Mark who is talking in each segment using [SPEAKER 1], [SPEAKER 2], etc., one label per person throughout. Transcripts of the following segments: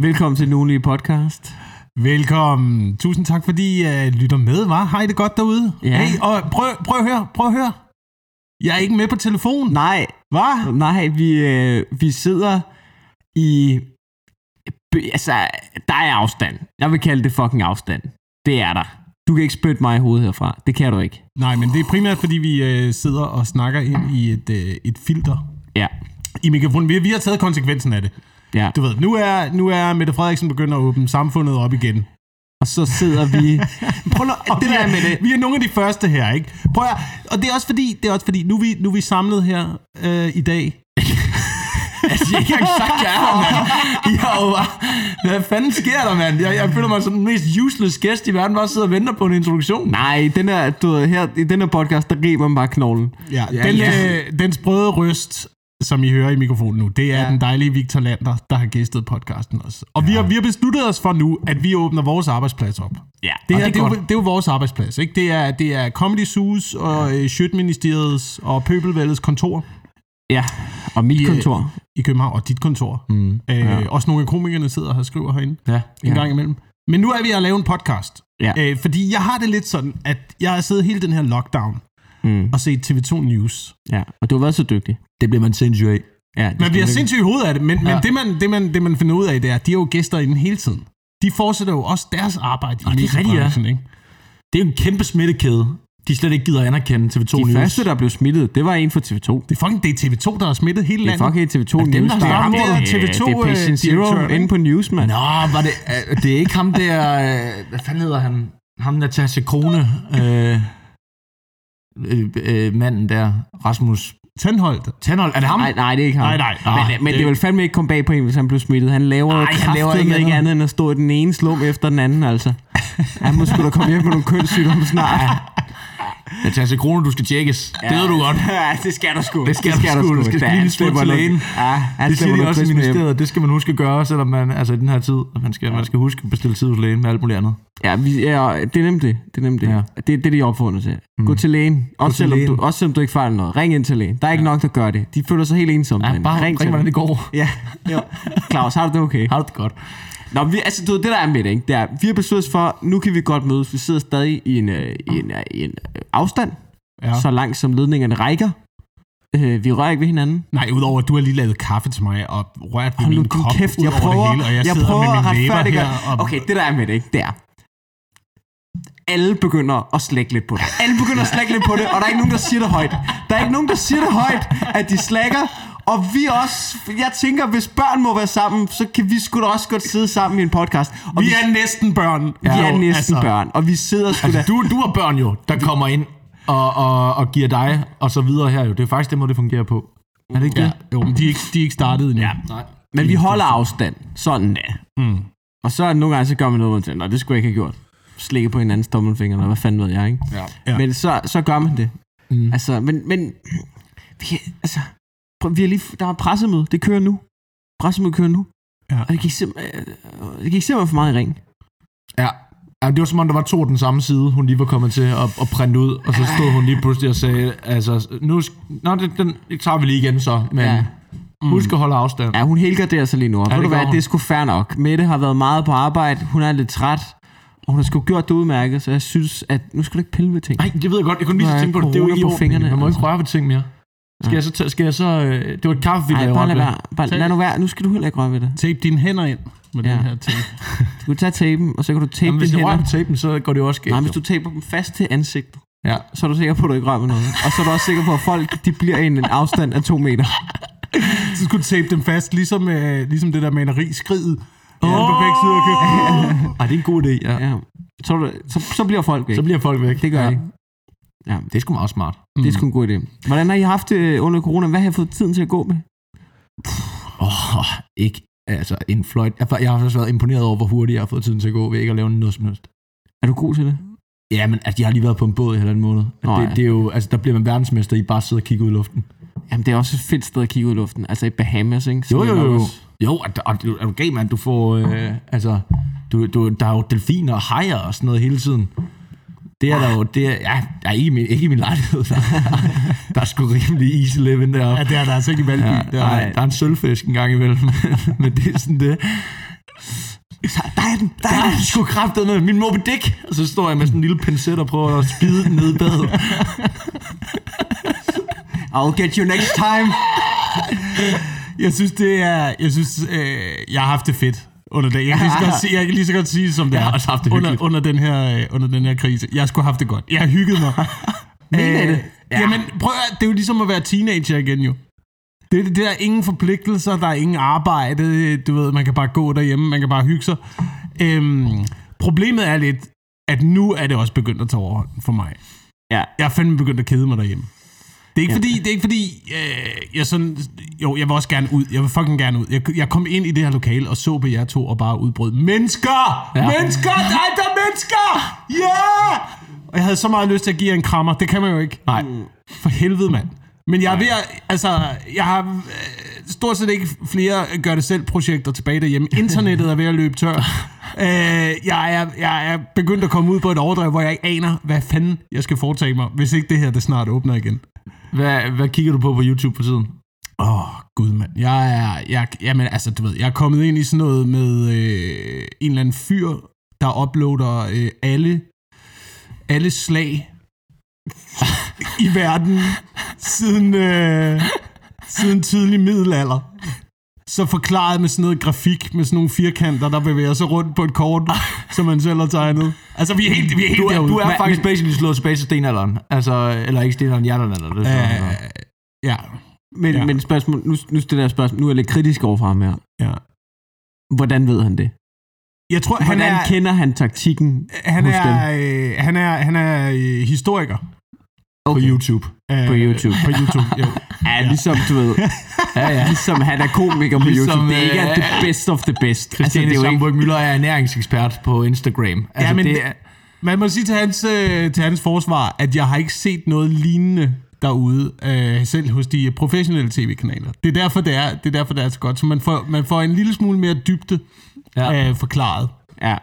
[SPEAKER 1] Velkommen til den ugenlige podcast.
[SPEAKER 2] Velkommen. Tusind tak, fordi I uh, lytter med, var. Har I det godt derude?
[SPEAKER 1] Ja.
[SPEAKER 2] Hey, og prøv, prøv at høre, prøv at høre. Jeg er ikke med på telefon.
[SPEAKER 1] Nej,
[SPEAKER 2] Hvad?
[SPEAKER 1] nej, vi, øh, vi sidder i... b- Altså, der er afstand. Jeg vil kalde det fucking afstand. Det er der. Du kan ikke spytte mig i hovedet herfra. Det kan du ikke.
[SPEAKER 2] Nej, men det er primært, fordi vi uh, sidder og snakker ind i et, uh, et filter
[SPEAKER 1] Ja,
[SPEAKER 2] i mikrofonen. Vi, vi har taget konsekvensen af det.
[SPEAKER 1] ja.
[SPEAKER 2] Du ved, nu er, nu er Mette Frederiksen begyndt at åbne samfundet op igen.
[SPEAKER 1] Og så sidder vi... Prøv nu,
[SPEAKER 2] Og
[SPEAKER 1] det
[SPEAKER 2] vi,
[SPEAKER 1] der
[SPEAKER 2] er,
[SPEAKER 1] med det.
[SPEAKER 2] vi er nogle af de første her, ikke? Prøv at, og det er også fordi, det er også fordi nu, er vi, nu er vi samlet her øh, i dag.
[SPEAKER 1] Altså, jeg har ikke engang sagt, jeg er her, mand. I har jo bare... Hvad fanden sker der, mand? Jeg, jeg føler mig som den mest useless gæst i verden, bare sidder og venter på en introduktion. Nej, den her, du ved, her, i den her podcast, der griber man bare knoglen.
[SPEAKER 2] Ja, den,
[SPEAKER 1] ja.
[SPEAKER 2] Øh, den sprøde røst, som I hører i mikrofonen nu, det er
[SPEAKER 1] Ja.
[SPEAKER 2] ja. den dejlige Victor Lander, der har gæstet podcasten også. Og ja. vi, har, vi har besluttet os for nu, at vi åbner vores arbejdsplads op.
[SPEAKER 1] Ja,
[SPEAKER 2] Det,
[SPEAKER 1] og
[SPEAKER 2] her, det, er, jo,
[SPEAKER 1] godt.
[SPEAKER 2] det er jo vores arbejdsplads, ikke? Det er, det er Comedy Sus og ja. Sjøtministeriets og Pøbelvældets kontor
[SPEAKER 1] Ja, og mit
[SPEAKER 2] I, øh,
[SPEAKER 1] kontor.
[SPEAKER 2] i København, og dit kontor.
[SPEAKER 1] Mm.
[SPEAKER 2] Øh,
[SPEAKER 1] Ja.
[SPEAKER 2] ja. Også nogle af komikerne sidder her og skriver herinde
[SPEAKER 1] Ja,
[SPEAKER 2] en ja. gang imellem. Men nu er vi at lave en podcast.
[SPEAKER 1] Ja.
[SPEAKER 2] Øh, fordi jeg har det lidt sådan, at jeg har siddet hele den her lockdown
[SPEAKER 1] Mm.
[SPEAKER 2] og set TV2 News.
[SPEAKER 1] ja. Og du har været så dygtig.
[SPEAKER 3] Det bliver man sindssyg af.
[SPEAKER 1] Ja, det
[SPEAKER 2] Man
[SPEAKER 1] skal
[SPEAKER 2] bliver
[SPEAKER 1] lykkes.
[SPEAKER 2] sindssygt i hovedet af det, men, ja. men det, man, det, man, det man finder ud af, det er, at de er jo gæster inden hele tiden. De fortsætter jo også deres arbejde i
[SPEAKER 3] er rigtigt, ja.
[SPEAKER 2] mediebranchen, ikke?
[SPEAKER 3] Det er jo en kæmpe smittekæde. De slet ikke gider anerkende TV2
[SPEAKER 1] De
[SPEAKER 3] News.
[SPEAKER 1] første, der blev smittet, det var en fra TV2.
[SPEAKER 2] Det er fucking det er TV2, der har smittet hele
[SPEAKER 1] Det er
[SPEAKER 2] landet.
[SPEAKER 1] fucking TV2
[SPEAKER 3] Er dem, der
[SPEAKER 1] News.
[SPEAKER 3] har
[SPEAKER 1] er
[SPEAKER 3] ramt
[SPEAKER 1] ham,
[SPEAKER 3] det
[SPEAKER 1] der-
[SPEAKER 2] der TV2,
[SPEAKER 1] Det er Patient
[SPEAKER 2] øh, direktør,
[SPEAKER 1] Zero
[SPEAKER 2] ikke?
[SPEAKER 1] inde på News, mand.
[SPEAKER 3] Nå, var det, øh, det er ikke ham der... øh, Hvad fanden hedder han? Ham Natasha Krone. Øh, øh, øh, manden der, Rasmus
[SPEAKER 2] Tandholdt.
[SPEAKER 3] Tandholt. Er det ham?
[SPEAKER 1] Nej, nej, det er ikke ham.
[SPEAKER 2] Nej, nej.
[SPEAKER 1] Men, men det, det vil fandme ikke komme bag på en, hvis han blev smittet. Han laver
[SPEAKER 3] Ej,
[SPEAKER 1] jo
[SPEAKER 3] han laver
[SPEAKER 1] kraftedeme
[SPEAKER 3] ikke
[SPEAKER 1] ikke
[SPEAKER 3] andet.
[SPEAKER 1] andet end at stå i den ene slum efter den anden, altså. Han må sgu da komme hjem med nogle kønssygdomme snart.
[SPEAKER 3] Natasha Krone, du skal tjekkes. Ja. Det ved du godt.
[SPEAKER 1] Ja, det skal der sgu.
[SPEAKER 3] Det skal der sgu. Det skal
[SPEAKER 1] Da,
[SPEAKER 3] lige
[SPEAKER 1] han
[SPEAKER 3] en tur
[SPEAKER 1] slipper
[SPEAKER 3] til
[SPEAKER 1] nok-
[SPEAKER 3] lægen.
[SPEAKER 1] Ja, han
[SPEAKER 3] Det siger
[SPEAKER 1] slipper
[SPEAKER 3] de
[SPEAKER 1] nok
[SPEAKER 3] også i
[SPEAKER 1] Christmas hjem.
[SPEAKER 3] ministeriet. Det skal man huske at gøre, selvom man, altså i den her tid, at man skal, man skal huske at bestille tid hos lægen med alt muligt andet.
[SPEAKER 1] Ja, vi, ja, det er nemt det. Det er nemt det. Ja.
[SPEAKER 3] Ja.
[SPEAKER 1] Det, det er de opfordrer til. Mm. Gå til lægen. Også,
[SPEAKER 3] til
[SPEAKER 1] selvom
[SPEAKER 3] lægen.
[SPEAKER 1] Du, også selvom du ikke fejler noget. Ring ind til lægen. Der er ikke ja. nok, der gør det. De føler sig helt ensomme.
[SPEAKER 3] Ja,
[SPEAKER 1] derinde.
[SPEAKER 3] bare ring,
[SPEAKER 1] til
[SPEAKER 3] ring hvordan
[SPEAKER 1] dem.
[SPEAKER 3] det går.
[SPEAKER 1] Ja, jo. Claus, har du det okay?
[SPEAKER 3] Har du det godt?
[SPEAKER 1] Nå, vi, altså, du ved, det der er med det, ikke? Det er, vi har besluttet os for, nu kan vi godt mødes. Vi sidder stadig i en, øh, i en, øh, i en øh, afstand, ja.
[SPEAKER 2] Ja.
[SPEAKER 1] så langt som ledningerne rækker. Øh, vi rører ikke ved hinanden.
[SPEAKER 2] Nej, udover at du har lige lavet kaffe til mig og rørt ved
[SPEAKER 1] Hold nu
[SPEAKER 2] min
[SPEAKER 1] din
[SPEAKER 2] kop
[SPEAKER 1] kæft,
[SPEAKER 2] ud
[SPEAKER 1] jeg
[SPEAKER 2] over
[SPEAKER 1] prøver,
[SPEAKER 2] det hele, og jeg, sidder
[SPEAKER 1] prøver
[SPEAKER 2] med
[SPEAKER 1] at
[SPEAKER 2] mine læber
[SPEAKER 1] retfærdiggøre-
[SPEAKER 2] her. Og,
[SPEAKER 1] Okay, det der er med det, ikke? Det er, alle begynder at slække lidt på det. Alle begynder at slække lidt på det, og der er ikke nogen, der siger det højt. Der er ikke nogen, der siger det højt, at de slækker. Og vi også, jeg tænker, hvis børn må være sammen, så kan vi sgu da også godt sidde sammen i en podcast. Og
[SPEAKER 2] vi er næsten børn.
[SPEAKER 1] vi
[SPEAKER 2] Jo,
[SPEAKER 1] er næsten
[SPEAKER 2] altså,
[SPEAKER 1] børn, og vi sidder sgu da...
[SPEAKER 3] Du, du er børn jo, der kommer ind og, og, og giver dig, og så videre her jo. Det er faktisk den måde, det fungerer på. Er det ikke
[SPEAKER 2] Ja,
[SPEAKER 3] det?
[SPEAKER 2] jo, men de er ikke, de er ikke startet endnu. Ja.
[SPEAKER 3] Nej.
[SPEAKER 1] Men vi holder afstand. Sådan er. Mm. Og så er det nogle gange, så gør man noget, hvor man tænker, "Nå, det skulle jeg ikke have gjort. Slikke på hinandens tommelfinger, eller hvad fanden ved jeg, ikke?
[SPEAKER 3] Ja.
[SPEAKER 2] Ja.
[SPEAKER 1] Men så, så gør man det. Mm. Altså, men, men vi, altså, prøv, vi er lige, der er pressemøde. Det kører nu. Pressemøde kører nu.
[SPEAKER 2] Ja.
[SPEAKER 1] Og det gik, simpelthen, det gik simpelthen for meget i ring.
[SPEAKER 3] ja. Ja, det var som om, der var to af den samme side, hun lige var kommet til at, at printe ud, og så stod hun lige pludselig og sagde, altså, nu, sk- nå, det, den det tager vi lige igen så, men
[SPEAKER 1] Ja.
[SPEAKER 3] ja. Mm. husk at holde afstand.
[SPEAKER 1] Ja, hun helgarderer sig lige nu. Og ja, ved
[SPEAKER 3] det
[SPEAKER 1] du
[SPEAKER 3] gør
[SPEAKER 1] hvad,
[SPEAKER 3] hun.
[SPEAKER 1] det er sgu fair nok. Mette har været meget på arbejde. Hun er lidt træt. Og hun har sgu gjort det udmærket, så jeg synes, at nu skal du ikke pille ved ting.
[SPEAKER 3] Nej, det ved jeg godt, jeg kunne lige
[SPEAKER 1] Nej,
[SPEAKER 3] så tænke på det, det er jo
[SPEAKER 1] corona
[SPEAKER 3] ikke i
[SPEAKER 1] på
[SPEAKER 3] orden,
[SPEAKER 1] fingrene,
[SPEAKER 3] man må
[SPEAKER 1] altså.
[SPEAKER 3] ikke røre ved ting mere. Skal jeg så, tage- skal jeg så, øh, det var et kaffe, vi
[SPEAKER 1] Ej,
[SPEAKER 3] lavede
[SPEAKER 1] bare lad
[SPEAKER 3] op ved.
[SPEAKER 1] være. Bare, lad nu være. Nu skal du heller ikke røre ved det.
[SPEAKER 2] Tape dine hænder ind med ja.
[SPEAKER 1] Ja.
[SPEAKER 2] den her ting.
[SPEAKER 1] Du kan tage tapen, og så kan du tape
[SPEAKER 3] Jamen, hvis
[SPEAKER 1] dine
[SPEAKER 3] det rører
[SPEAKER 1] hænder.
[SPEAKER 3] på tapen, så går det jo også galt.
[SPEAKER 1] Nej, hvis
[SPEAKER 3] jo.
[SPEAKER 1] du taper dem fast til ansigtet,
[SPEAKER 3] Ja.
[SPEAKER 1] så er du sikker på, at du ikke rører ved noget. Og så er du også sikker på, at folk de bliver i en afstand af to meter.
[SPEAKER 2] Så skulle du tape dem fast, ligesom, øh, ligesom det der maleri skridt. Ja. På begge sider af køkkenet.
[SPEAKER 3] Ej, det er en god idé, ja.
[SPEAKER 1] Ja. Så, er du- så, så bliver folk væk.
[SPEAKER 3] Så bliver folk væk.
[SPEAKER 1] Det gør
[SPEAKER 3] ja.
[SPEAKER 1] ja. de. Ja,
[SPEAKER 3] Det er sgu meget smart.
[SPEAKER 1] det er sgu en god idé. Hvordan har I haft det øh, under corona? Hvad har I fået tiden til at gå med?
[SPEAKER 3] Åh, oh, ikke altså en fløjt. Jeg, jeg har også været imponeret over, hvor hurtigt jeg har fået tiden til at gå ved ikke at lave noget som helst.
[SPEAKER 1] Er du god til det?
[SPEAKER 3] Ja, men altså, jeg har lige været på en båd i halvanden måned.
[SPEAKER 1] Nå, ja.
[SPEAKER 3] Det, det, er jo, altså, der bliver man verdensmester i bare at sidde og kigge ud i luften.
[SPEAKER 1] Jamen, det er også et fedt sted at kigge ud i luften. Altså i Bahamas, ikke? Som
[SPEAKER 3] Jo, jo,
[SPEAKER 1] er nok
[SPEAKER 3] jo.
[SPEAKER 1] også-
[SPEAKER 3] Jo, og, og, og er du gal, mand? Du får, øh, altså, du, du, der er jo delfiner og hajer og sådan noget hele tiden. Det er der jo, det er, ja, der er ikke, i min, ikke i min lejlighed. Der, der er sgu rimelig easy living deroppe.
[SPEAKER 2] Ja, det er der altså ikke i Valby.
[SPEAKER 3] Ja,
[SPEAKER 2] Ja,
[SPEAKER 3] der, er, der er en sølvfisk en gang imellem, men det er sådan det.
[SPEAKER 1] Så, der er den, der er
[SPEAKER 3] Ej,
[SPEAKER 1] den.
[SPEAKER 3] du skulle kræftet med min Moby Dick. Og så står jeg med sådan en lille pincet og prøver at spide den ned i badet.
[SPEAKER 1] I'll get you next time.
[SPEAKER 2] Jeg synes, det er... Jeg synes, øh, jeg har haft det fedt under det. Jeg kan lige så godt sige, jeg kan lige så godt sige det, som det
[SPEAKER 3] Jeg
[SPEAKER 2] er.
[SPEAKER 3] har også haft det
[SPEAKER 2] under,
[SPEAKER 3] hyggeligt.
[SPEAKER 2] under, den her, øh, under den her krise. Jeg skulle have haft det godt. Jeg har hygget mig.
[SPEAKER 1] Mener I det?
[SPEAKER 2] Ja. Jamen, prøv at, det er jo ligesom at være teenager igen, jo. Det, er det der er ingen forpligtelser, der er ingen arbejde, du ved, man kan bare gå derhjemme, man kan bare hygge sig. Øhm, problemet er lidt, at nu er det også begyndt at tage overhånd for mig.
[SPEAKER 1] Ja.
[SPEAKER 2] Jeg er fandme begyndt at kede mig derhjemme. Det er ikke fordi, det er ikke fordi øh, jeg sådan, jo, jeg vil også gerne ud. Jeg vil fucking gerne ud. Jeg, jeg kom ind i det her lokale og så på jer to og bare udbrød. Mennesker! Ja.
[SPEAKER 3] Ja.
[SPEAKER 2] Mennesker! Der er der mennesker! Ja! Yeah! Og jeg havde så meget lyst til at give jer en krammer. Det kan man jo ikke.
[SPEAKER 3] Nej.
[SPEAKER 2] For helvede, mand. Men jeg er ved at, altså, jeg har øh, stort set ikke flere gør-det-selv-projekter tilbage derhjemme. Internettet er ved at løbe tør. Øh, jeg, er, jeg er begyndt at komme ud på et overdrev, hvor jeg ikke aner, hvad fanden jeg skal foretage mig, hvis ikke det her det snart åbner igen.
[SPEAKER 3] Hvad, hvad kigger du på på YouTube for tiden?
[SPEAKER 2] Åh, oh, gud mand. Jeg er, jeg, jamen, altså, du ved, jeg er kommet ind i sådan noget med øh, en eller anden fyr, der uploader øh, alle, alle slag i verden siden, øh, siden tidlig middelalder. Så forklaret med sådan noget grafik, med sådan nogle firkanter, der bevæger sig rundt på et kort, som man selv har tegnet. Altså, vi er helt, vi er helt
[SPEAKER 3] Du, er-
[SPEAKER 2] derude.
[SPEAKER 3] du er
[SPEAKER 2] Men-
[SPEAKER 3] faktisk basically slået tilbage til stenalderen. Altså, eller ikke stenalderen, jernalderen. Det,
[SPEAKER 2] men-
[SPEAKER 3] øh,
[SPEAKER 2] øh, Ja,
[SPEAKER 1] Men,
[SPEAKER 2] Ja.
[SPEAKER 1] ja. men spørgsmål, nu, nu stiller jeg spørgsmål. Nu er jeg lidt kritisk overfor ham her.
[SPEAKER 2] ja.
[SPEAKER 1] Hvordan ved han det?
[SPEAKER 2] Jeg tror, han
[SPEAKER 1] Hvordan
[SPEAKER 2] er...
[SPEAKER 1] han kender han taktikken
[SPEAKER 2] han
[SPEAKER 1] hos dem?
[SPEAKER 2] er, øh, han er, han er øh, historiker.
[SPEAKER 3] på
[SPEAKER 1] Okay.
[SPEAKER 3] YouTube.
[SPEAKER 2] Øh,
[SPEAKER 1] På YouTube.
[SPEAKER 2] På YouTube, ja.
[SPEAKER 1] Ja, ligesom du ved.
[SPEAKER 3] Ja, ja.
[SPEAKER 1] Ligesom han er komiker på
[SPEAKER 3] Ligesom,
[SPEAKER 1] YouTube. Det er ikke
[SPEAKER 3] øh,
[SPEAKER 1] at the best of the best. Altså,
[SPEAKER 3] Christiane
[SPEAKER 1] det er jo ikke...
[SPEAKER 3] Sandburg Møller er ernæringsekspert på Instagram. Altså,
[SPEAKER 2] ja men
[SPEAKER 3] det, er-
[SPEAKER 2] det, man må sige til hans, øh, til hans forsvar, at jeg har ikke set noget lignende derude, øh, selv hos de professionelle tv-kanaler. Det er derfor, det er, det er, derfor, det er så godt. Så man får, man får en lille smule mere dybde
[SPEAKER 3] Ja.
[SPEAKER 2] ja. øh, forklaret.
[SPEAKER 1] Ja.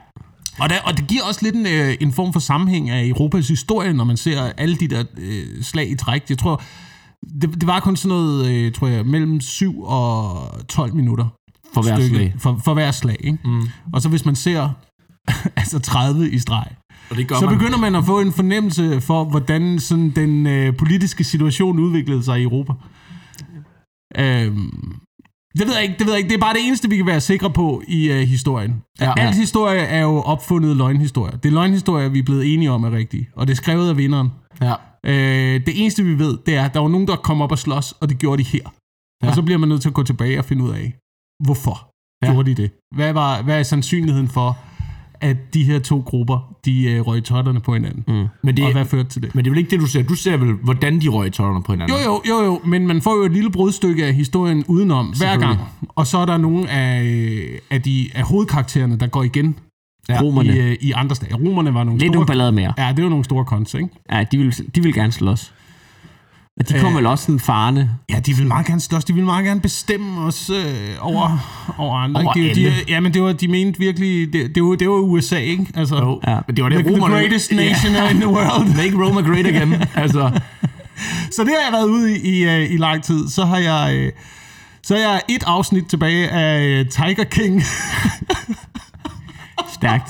[SPEAKER 2] Og, der, og det giver også lidt en, øh, en form for sammenhæng af Europas historie, når man ser alle de der øh, slag i træk. Jeg tror, det, det var kun sådan noget, øh, tror jeg, mellem 7 og 12 minutter.
[SPEAKER 3] For hver
[SPEAKER 2] stykket.
[SPEAKER 3] slag.
[SPEAKER 2] For, for hver slag, ikke? Mm. Og så hvis man ser altså 30 i streg,
[SPEAKER 3] og det gør
[SPEAKER 2] så
[SPEAKER 3] man.
[SPEAKER 2] begynder man at få en fornemmelse for, hvordan sådan den øh, politiske situation udviklede sig i Europa. Øhm, det ved jeg ikke, det ved jeg ikke. Det er bare det eneste, vi kan være sikre på i øh, historien.
[SPEAKER 3] Ja.
[SPEAKER 2] Ja, Alt historie er jo opfundet løgnhistorie. Det er løgnhistorie, vi er blevet enige om er rigtige, og det er skrevet af vinderen.
[SPEAKER 3] Ja.
[SPEAKER 2] Øh, det eneste, vi ved, det er, at der var nogen, der kom op og slås, og det gjorde de her. Ja.
[SPEAKER 3] Ja.
[SPEAKER 2] Og så bliver man nødt til at gå tilbage og finde ud af, hvorfor ja. gjorde de det? Hvad, var, hvad er sandsynligheden for, at de her to grupper, de øh, røg totterne på hinanden? Mm.
[SPEAKER 3] Men det,
[SPEAKER 2] Og hvad førte til det?
[SPEAKER 3] men det er vel ikke det, du ser. Du ser vel, hvordan de røg tøjerne på hinanden.
[SPEAKER 2] Jo, jo, jo, jo, men man får jo et lille brudstykke af historien udenom hver
[SPEAKER 3] Selvfølgelig.
[SPEAKER 2] gang. Og så er der nogle af, øh, af, de, af hovedkaraktererne, der går igen
[SPEAKER 3] Ja.
[SPEAKER 1] Romerne.
[SPEAKER 2] i, øh, i andre stater. Romerne var nogle
[SPEAKER 1] Lidt
[SPEAKER 2] store...
[SPEAKER 1] nogle ballade mere.
[SPEAKER 2] Ja, det var nogle store konts, ikke?
[SPEAKER 1] Ja, de vil, de vil gerne slås. Og de kommer
[SPEAKER 2] Øh.
[SPEAKER 1] vel også sådan farne.
[SPEAKER 2] Ja, de vil meget gerne slås. De vil meget gerne bestemme os øh, over, over andre.
[SPEAKER 3] Over
[SPEAKER 2] ikke? de,
[SPEAKER 3] alle.
[SPEAKER 2] de, ja, men det var, de mente virkelig... Det, det, var, det var USA, ikke? Altså,
[SPEAKER 3] Jo.
[SPEAKER 1] Ja.
[SPEAKER 3] Men det var det,
[SPEAKER 2] The, the
[SPEAKER 3] romerne...
[SPEAKER 2] greatest nation in the world.
[SPEAKER 3] Make Roma great again. altså,
[SPEAKER 2] Så det har jeg været ude i, i, øh, i lang tid. Så har jeg... Øh, så har jeg et afsnit tilbage af øh, Tiger King.
[SPEAKER 1] Stærkt.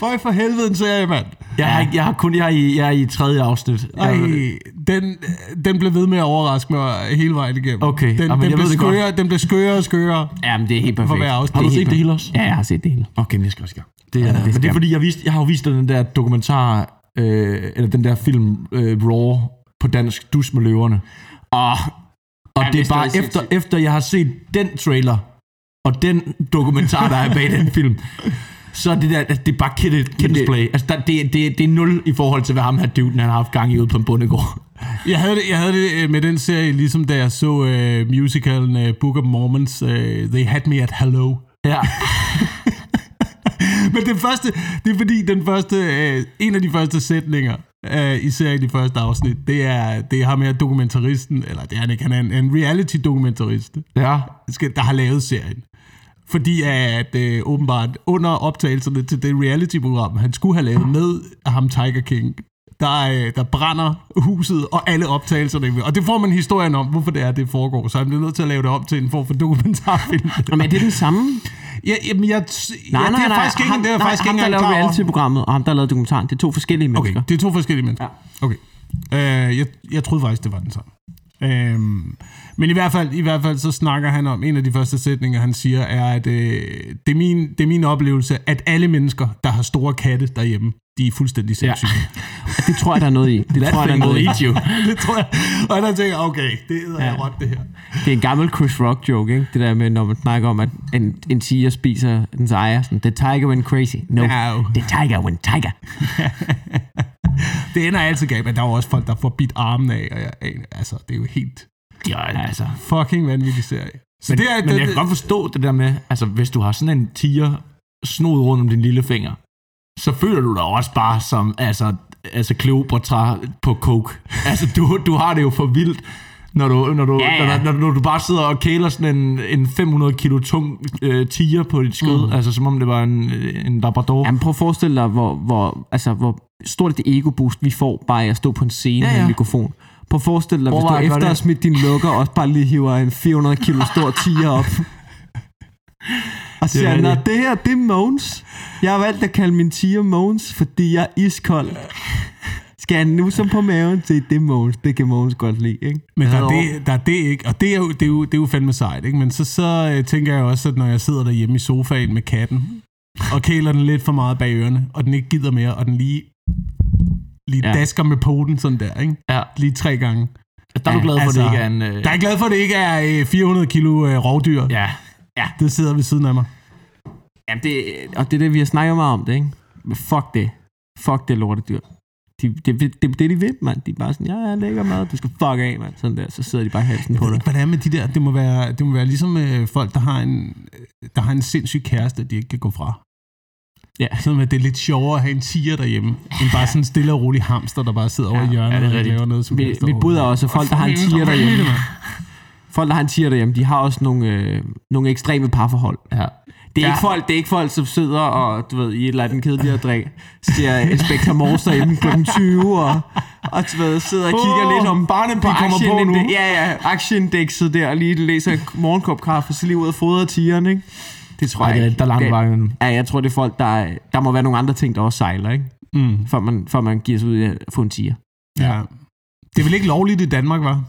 [SPEAKER 2] Føj for helvede en serie, mand.
[SPEAKER 3] jeg, har, ikke- jeg har kun jeg er i, jeg er i tredje afsnit. Jeg-
[SPEAKER 2] Ej, den, den blev ved med at overraske mig hele vejen igennem.
[SPEAKER 3] Okay,
[SPEAKER 2] Den,
[SPEAKER 3] jamen,
[SPEAKER 2] den,
[SPEAKER 3] jeg
[SPEAKER 2] blev
[SPEAKER 3] ved det godt.
[SPEAKER 2] skøre, den blev skørere og skørere.
[SPEAKER 1] Jamen, det er helt perfekt.
[SPEAKER 2] hver afsnit.
[SPEAKER 1] er
[SPEAKER 3] Har du
[SPEAKER 1] helt
[SPEAKER 3] set det
[SPEAKER 1] perfekt.
[SPEAKER 3] hele også?
[SPEAKER 1] Ja, jeg har set det hele.
[SPEAKER 3] Okay, men jeg skal også i gang. Det er,
[SPEAKER 1] det
[SPEAKER 3] men
[SPEAKER 1] skal
[SPEAKER 3] det er
[SPEAKER 1] man.
[SPEAKER 3] fordi, jeg, viste, jeg har jo vist dig den der dokumentar, øh, eller den der film, øh, Raw, på dansk, Dus med løverne.
[SPEAKER 1] Åh,
[SPEAKER 3] Og
[SPEAKER 1] Ja,
[SPEAKER 3] det er
[SPEAKER 1] hvis det
[SPEAKER 3] bare
[SPEAKER 1] var
[SPEAKER 3] efter,
[SPEAKER 1] sindssygt.
[SPEAKER 3] efter jeg har set den trailer, og den dokumentar, der er bag den film, så er det der, altså, det er bare kid, kids
[SPEAKER 1] det-
[SPEAKER 3] play. Altså, der, det, det, det er nul i forhold til, hvad ham her dude, han har haft gang i ude på en bondegård.
[SPEAKER 2] Jeg havde, det, jeg havde det øh, med den serie, ligesom da jeg så uh, musicalen uh, Book of Mormons, uh, They Had Me at Hello.
[SPEAKER 3] Ja,
[SPEAKER 2] Men den første, det er fordi, den første, uh, en af de første sætninger uh, i serien, i første afsnit, det er, det er ham her dokumentaristen, eller det er han ikke, han er en, en reality-dokumentarist,
[SPEAKER 3] ja.
[SPEAKER 2] skal- der har lavet serien. Fordi at øh, åbenbart under optagelserne til det reality-program, han skulle have lavet med ham Tiger King, der, øh, der brænder huset og alle optagelserne. Og det får man historien om, hvorfor det er, det foregår. Så han bliver nødt til at lave det op til en form for dokumentarfilm.
[SPEAKER 1] men er det den samme?
[SPEAKER 2] Ja, jamen, jeg, ja, det er faktisk ikke,
[SPEAKER 1] ham,
[SPEAKER 2] det er jeg
[SPEAKER 1] nej,
[SPEAKER 2] faktisk
[SPEAKER 1] ham,
[SPEAKER 2] ikke
[SPEAKER 1] der
[SPEAKER 2] engang
[SPEAKER 1] lavede
[SPEAKER 2] klar over.
[SPEAKER 1] reality-programmet, og ham, der lavede dokumentaren, det er to forskellige
[SPEAKER 2] Okay,
[SPEAKER 1] mennesker.
[SPEAKER 2] det er to forskellige mennesker.
[SPEAKER 1] Ja.
[SPEAKER 2] Okay. Øh, jeg, jeg troede faktisk, det var den samme. Øhm, men i hvert, fald, i hvert fald så snakker han om, en af de første sætninger, han siger, er, at øh, det, er min, det er min oplevelse, at alle mennesker, der har store katte derhjemme, de er fuldstændig sindssyge.
[SPEAKER 1] Okay. Det tror jeg, der er noget i. Det tror jeg, der er noget i.
[SPEAKER 3] you.
[SPEAKER 2] Ja. det tror jeg. Og der tænker jeg, okay, det er ja.
[SPEAKER 1] Ja.
[SPEAKER 2] råt det her.
[SPEAKER 1] Det er en gammel Chris Rock joke, ikke? Det der med, når man snakker om, at en, en tiger spiser dens ejer. Sådan, The tiger went crazy. No,
[SPEAKER 2] No.
[SPEAKER 1] the tiger went tiger.
[SPEAKER 2] Det ender altid galt, men der er jo også folk, der får bidt armen af, og jeg, aner- altså, det er jo helt
[SPEAKER 3] Ja, altså.
[SPEAKER 2] fucking vanvittig serie. Så
[SPEAKER 3] Men,
[SPEAKER 2] det er,
[SPEAKER 3] men jeg kan godt forstå det der med, altså hvis du har sådan en tiger snod rundt om din lille finger, så føler du dig også bare som, altså, altså Cleopatra på coke. Altså du, du har det jo for vildt, når du, når du,
[SPEAKER 1] Ja, ja.
[SPEAKER 3] Når, når, når du bare sidder og kæler sådan en, en 500 kilo tung øh, tiger på dit skød, mm. altså som om det var en, en labrador.
[SPEAKER 1] Jamen, prøv at forestille dig, hvor, hvor, altså, hvor stort et ego-boost vi får bare af at stå på en scene
[SPEAKER 3] Ja,
[SPEAKER 1] ja, ja. med
[SPEAKER 3] ja.
[SPEAKER 1] en mikrofon. Prøv at forestille dig, hvis du
[SPEAKER 3] Overvej at gøre
[SPEAKER 1] efter at have
[SPEAKER 3] det.
[SPEAKER 1] smidt din lukker også bare lige hiver en 400 kilo stor tiger op. Og siger,
[SPEAKER 3] rigtigt.
[SPEAKER 1] når det her, det er Måns. Jeg har valgt at kalde min tiger Måns, fordi jeg er iskold. Skal han nu som på maven se, det er Måns. Det kan Måns godt lide, ikke?
[SPEAKER 2] Men der er,
[SPEAKER 1] Herover.
[SPEAKER 2] det, der er det ikke, og det er jo, det er jo, det er jo fandme sejt, ikke? Men så, så øh, tænker jeg også, at når jeg sidder derhjemme i sofaen med katten, og kæler den lidt for meget bag ørerne, og den ikke gider mere, og den lige, lige
[SPEAKER 1] Ja.
[SPEAKER 2] ja. dasker med poten sådan der, ikke?
[SPEAKER 3] Ja,
[SPEAKER 2] Lige tre gange.
[SPEAKER 3] der er du
[SPEAKER 1] Ja,
[SPEAKER 3] glad for,
[SPEAKER 2] altså,
[SPEAKER 3] altså, det ikke er en... Øh,
[SPEAKER 2] Der er jeg glad for, at det ikke er øh, 400 kilo øh, rovdyr. Ja.
[SPEAKER 3] ja,
[SPEAKER 2] Det sidder ved siden af mig.
[SPEAKER 1] Jamen det, og det er det, vi har snakket meget om det, ikke? Men fuck det. Fuck det lortedyr. De, det, det, det, er det, de vil, mand. De er bare sådan, ja, jeg lægger mad, du skal fuck af, mand. Sådan der, så sidder de bare i halsen på
[SPEAKER 2] Jeg ved
[SPEAKER 1] dig.
[SPEAKER 2] ikke, hvad det er med de der. Det må være, det må være ligesom øh, folk, der har, en, øh, der har en sindssyg kæreste, de ikke kan gå fra.
[SPEAKER 1] Ja.
[SPEAKER 2] Sådan at det er lidt sjovere at have en tiger derhjemme, end bare sådan en stille og rolig hamster, der bare sidder ja, over i hjørnet
[SPEAKER 3] ja, det er
[SPEAKER 2] og ikke
[SPEAKER 3] rigtigt.
[SPEAKER 2] laver noget som
[SPEAKER 1] Mit,
[SPEAKER 2] helst.
[SPEAKER 1] mit bud er også, at folk, der har en tiger derhjemme, folk, der har en tiger derhjemme, de har også nogle, øh, nogle ekstreme parforhold.
[SPEAKER 3] ja.
[SPEAKER 1] Det er, ja.
[SPEAKER 3] Ja.
[SPEAKER 1] ikke folk, det er ikke folk, som sidder og, du ved, i et eller andet kedeligere drik, ser Inspektor Morse derhjemme kl. 20, og, og du ved, sidder og kigger
[SPEAKER 2] Åh,
[SPEAKER 1] lidt om barnet på,
[SPEAKER 2] de kommer på
[SPEAKER 1] aktieinde-
[SPEAKER 2] nu.
[SPEAKER 1] ja, ja, aktieindekset der, og lige læser en morgenkop kaffe, og så lige ud og fodrer tigeren, ikke? Det tror
[SPEAKER 3] Ej,
[SPEAKER 1] jeg
[SPEAKER 3] det er,
[SPEAKER 1] ikke.
[SPEAKER 3] der er langt
[SPEAKER 1] Det-
[SPEAKER 3] vej imellem.
[SPEAKER 1] Ja, jeg tror, det er folk, der, er- der må være nogle andre ting, der også sejler, ikke?
[SPEAKER 2] Mm,
[SPEAKER 1] Før man, før man giver sig ud i at få en tiger.
[SPEAKER 2] ja. Det er vel ikke lovligt i Danmark, var?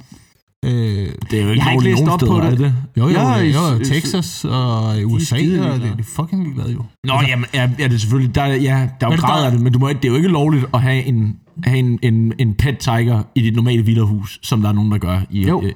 [SPEAKER 2] Øh,
[SPEAKER 3] Det er jo
[SPEAKER 1] Jeg har ikke
[SPEAKER 3] lovligt
[SPEAKER 1] læst
[SPEAKER 3] nogen
[SPEAKER 1] op på
[SPEAKER 3] steder,
[SPEAKER 1] det.
[SPEAKER 3] er det.
[SPEAKER 2] jo, jo,
[SPEAKER 1] Ja,
[SPEAKER 2] jo,
[SPEAKER 1] i-
[SPEAKER 2] jo,
[SPEAKER 1] i-
[SPEAKER 2] Texas og i USA,
[SPEAKER 1] skide
[SPEAKER 2] og det
[SPEAKER 1] ligeglade.
[SPEAKER 2] er de fucking ligeglade jo.
[SPEAKER 3] Nå, altså, jamen, ja, ja, det er selvfølgelig, der, er- ja, der er jo
[SPEAKER 2] Men
[SPEAKER 3] grader
[SPEAKER 2] der-
[SPEAKER 3] af det, men du må, ikke- det er jo ikke lovligt at have en, have en, en, en pet tiger i dit normale villahus, som der er nogen, der gør. I,
[SPEAKER 1] Jo.
[SPEAKER 3] øh,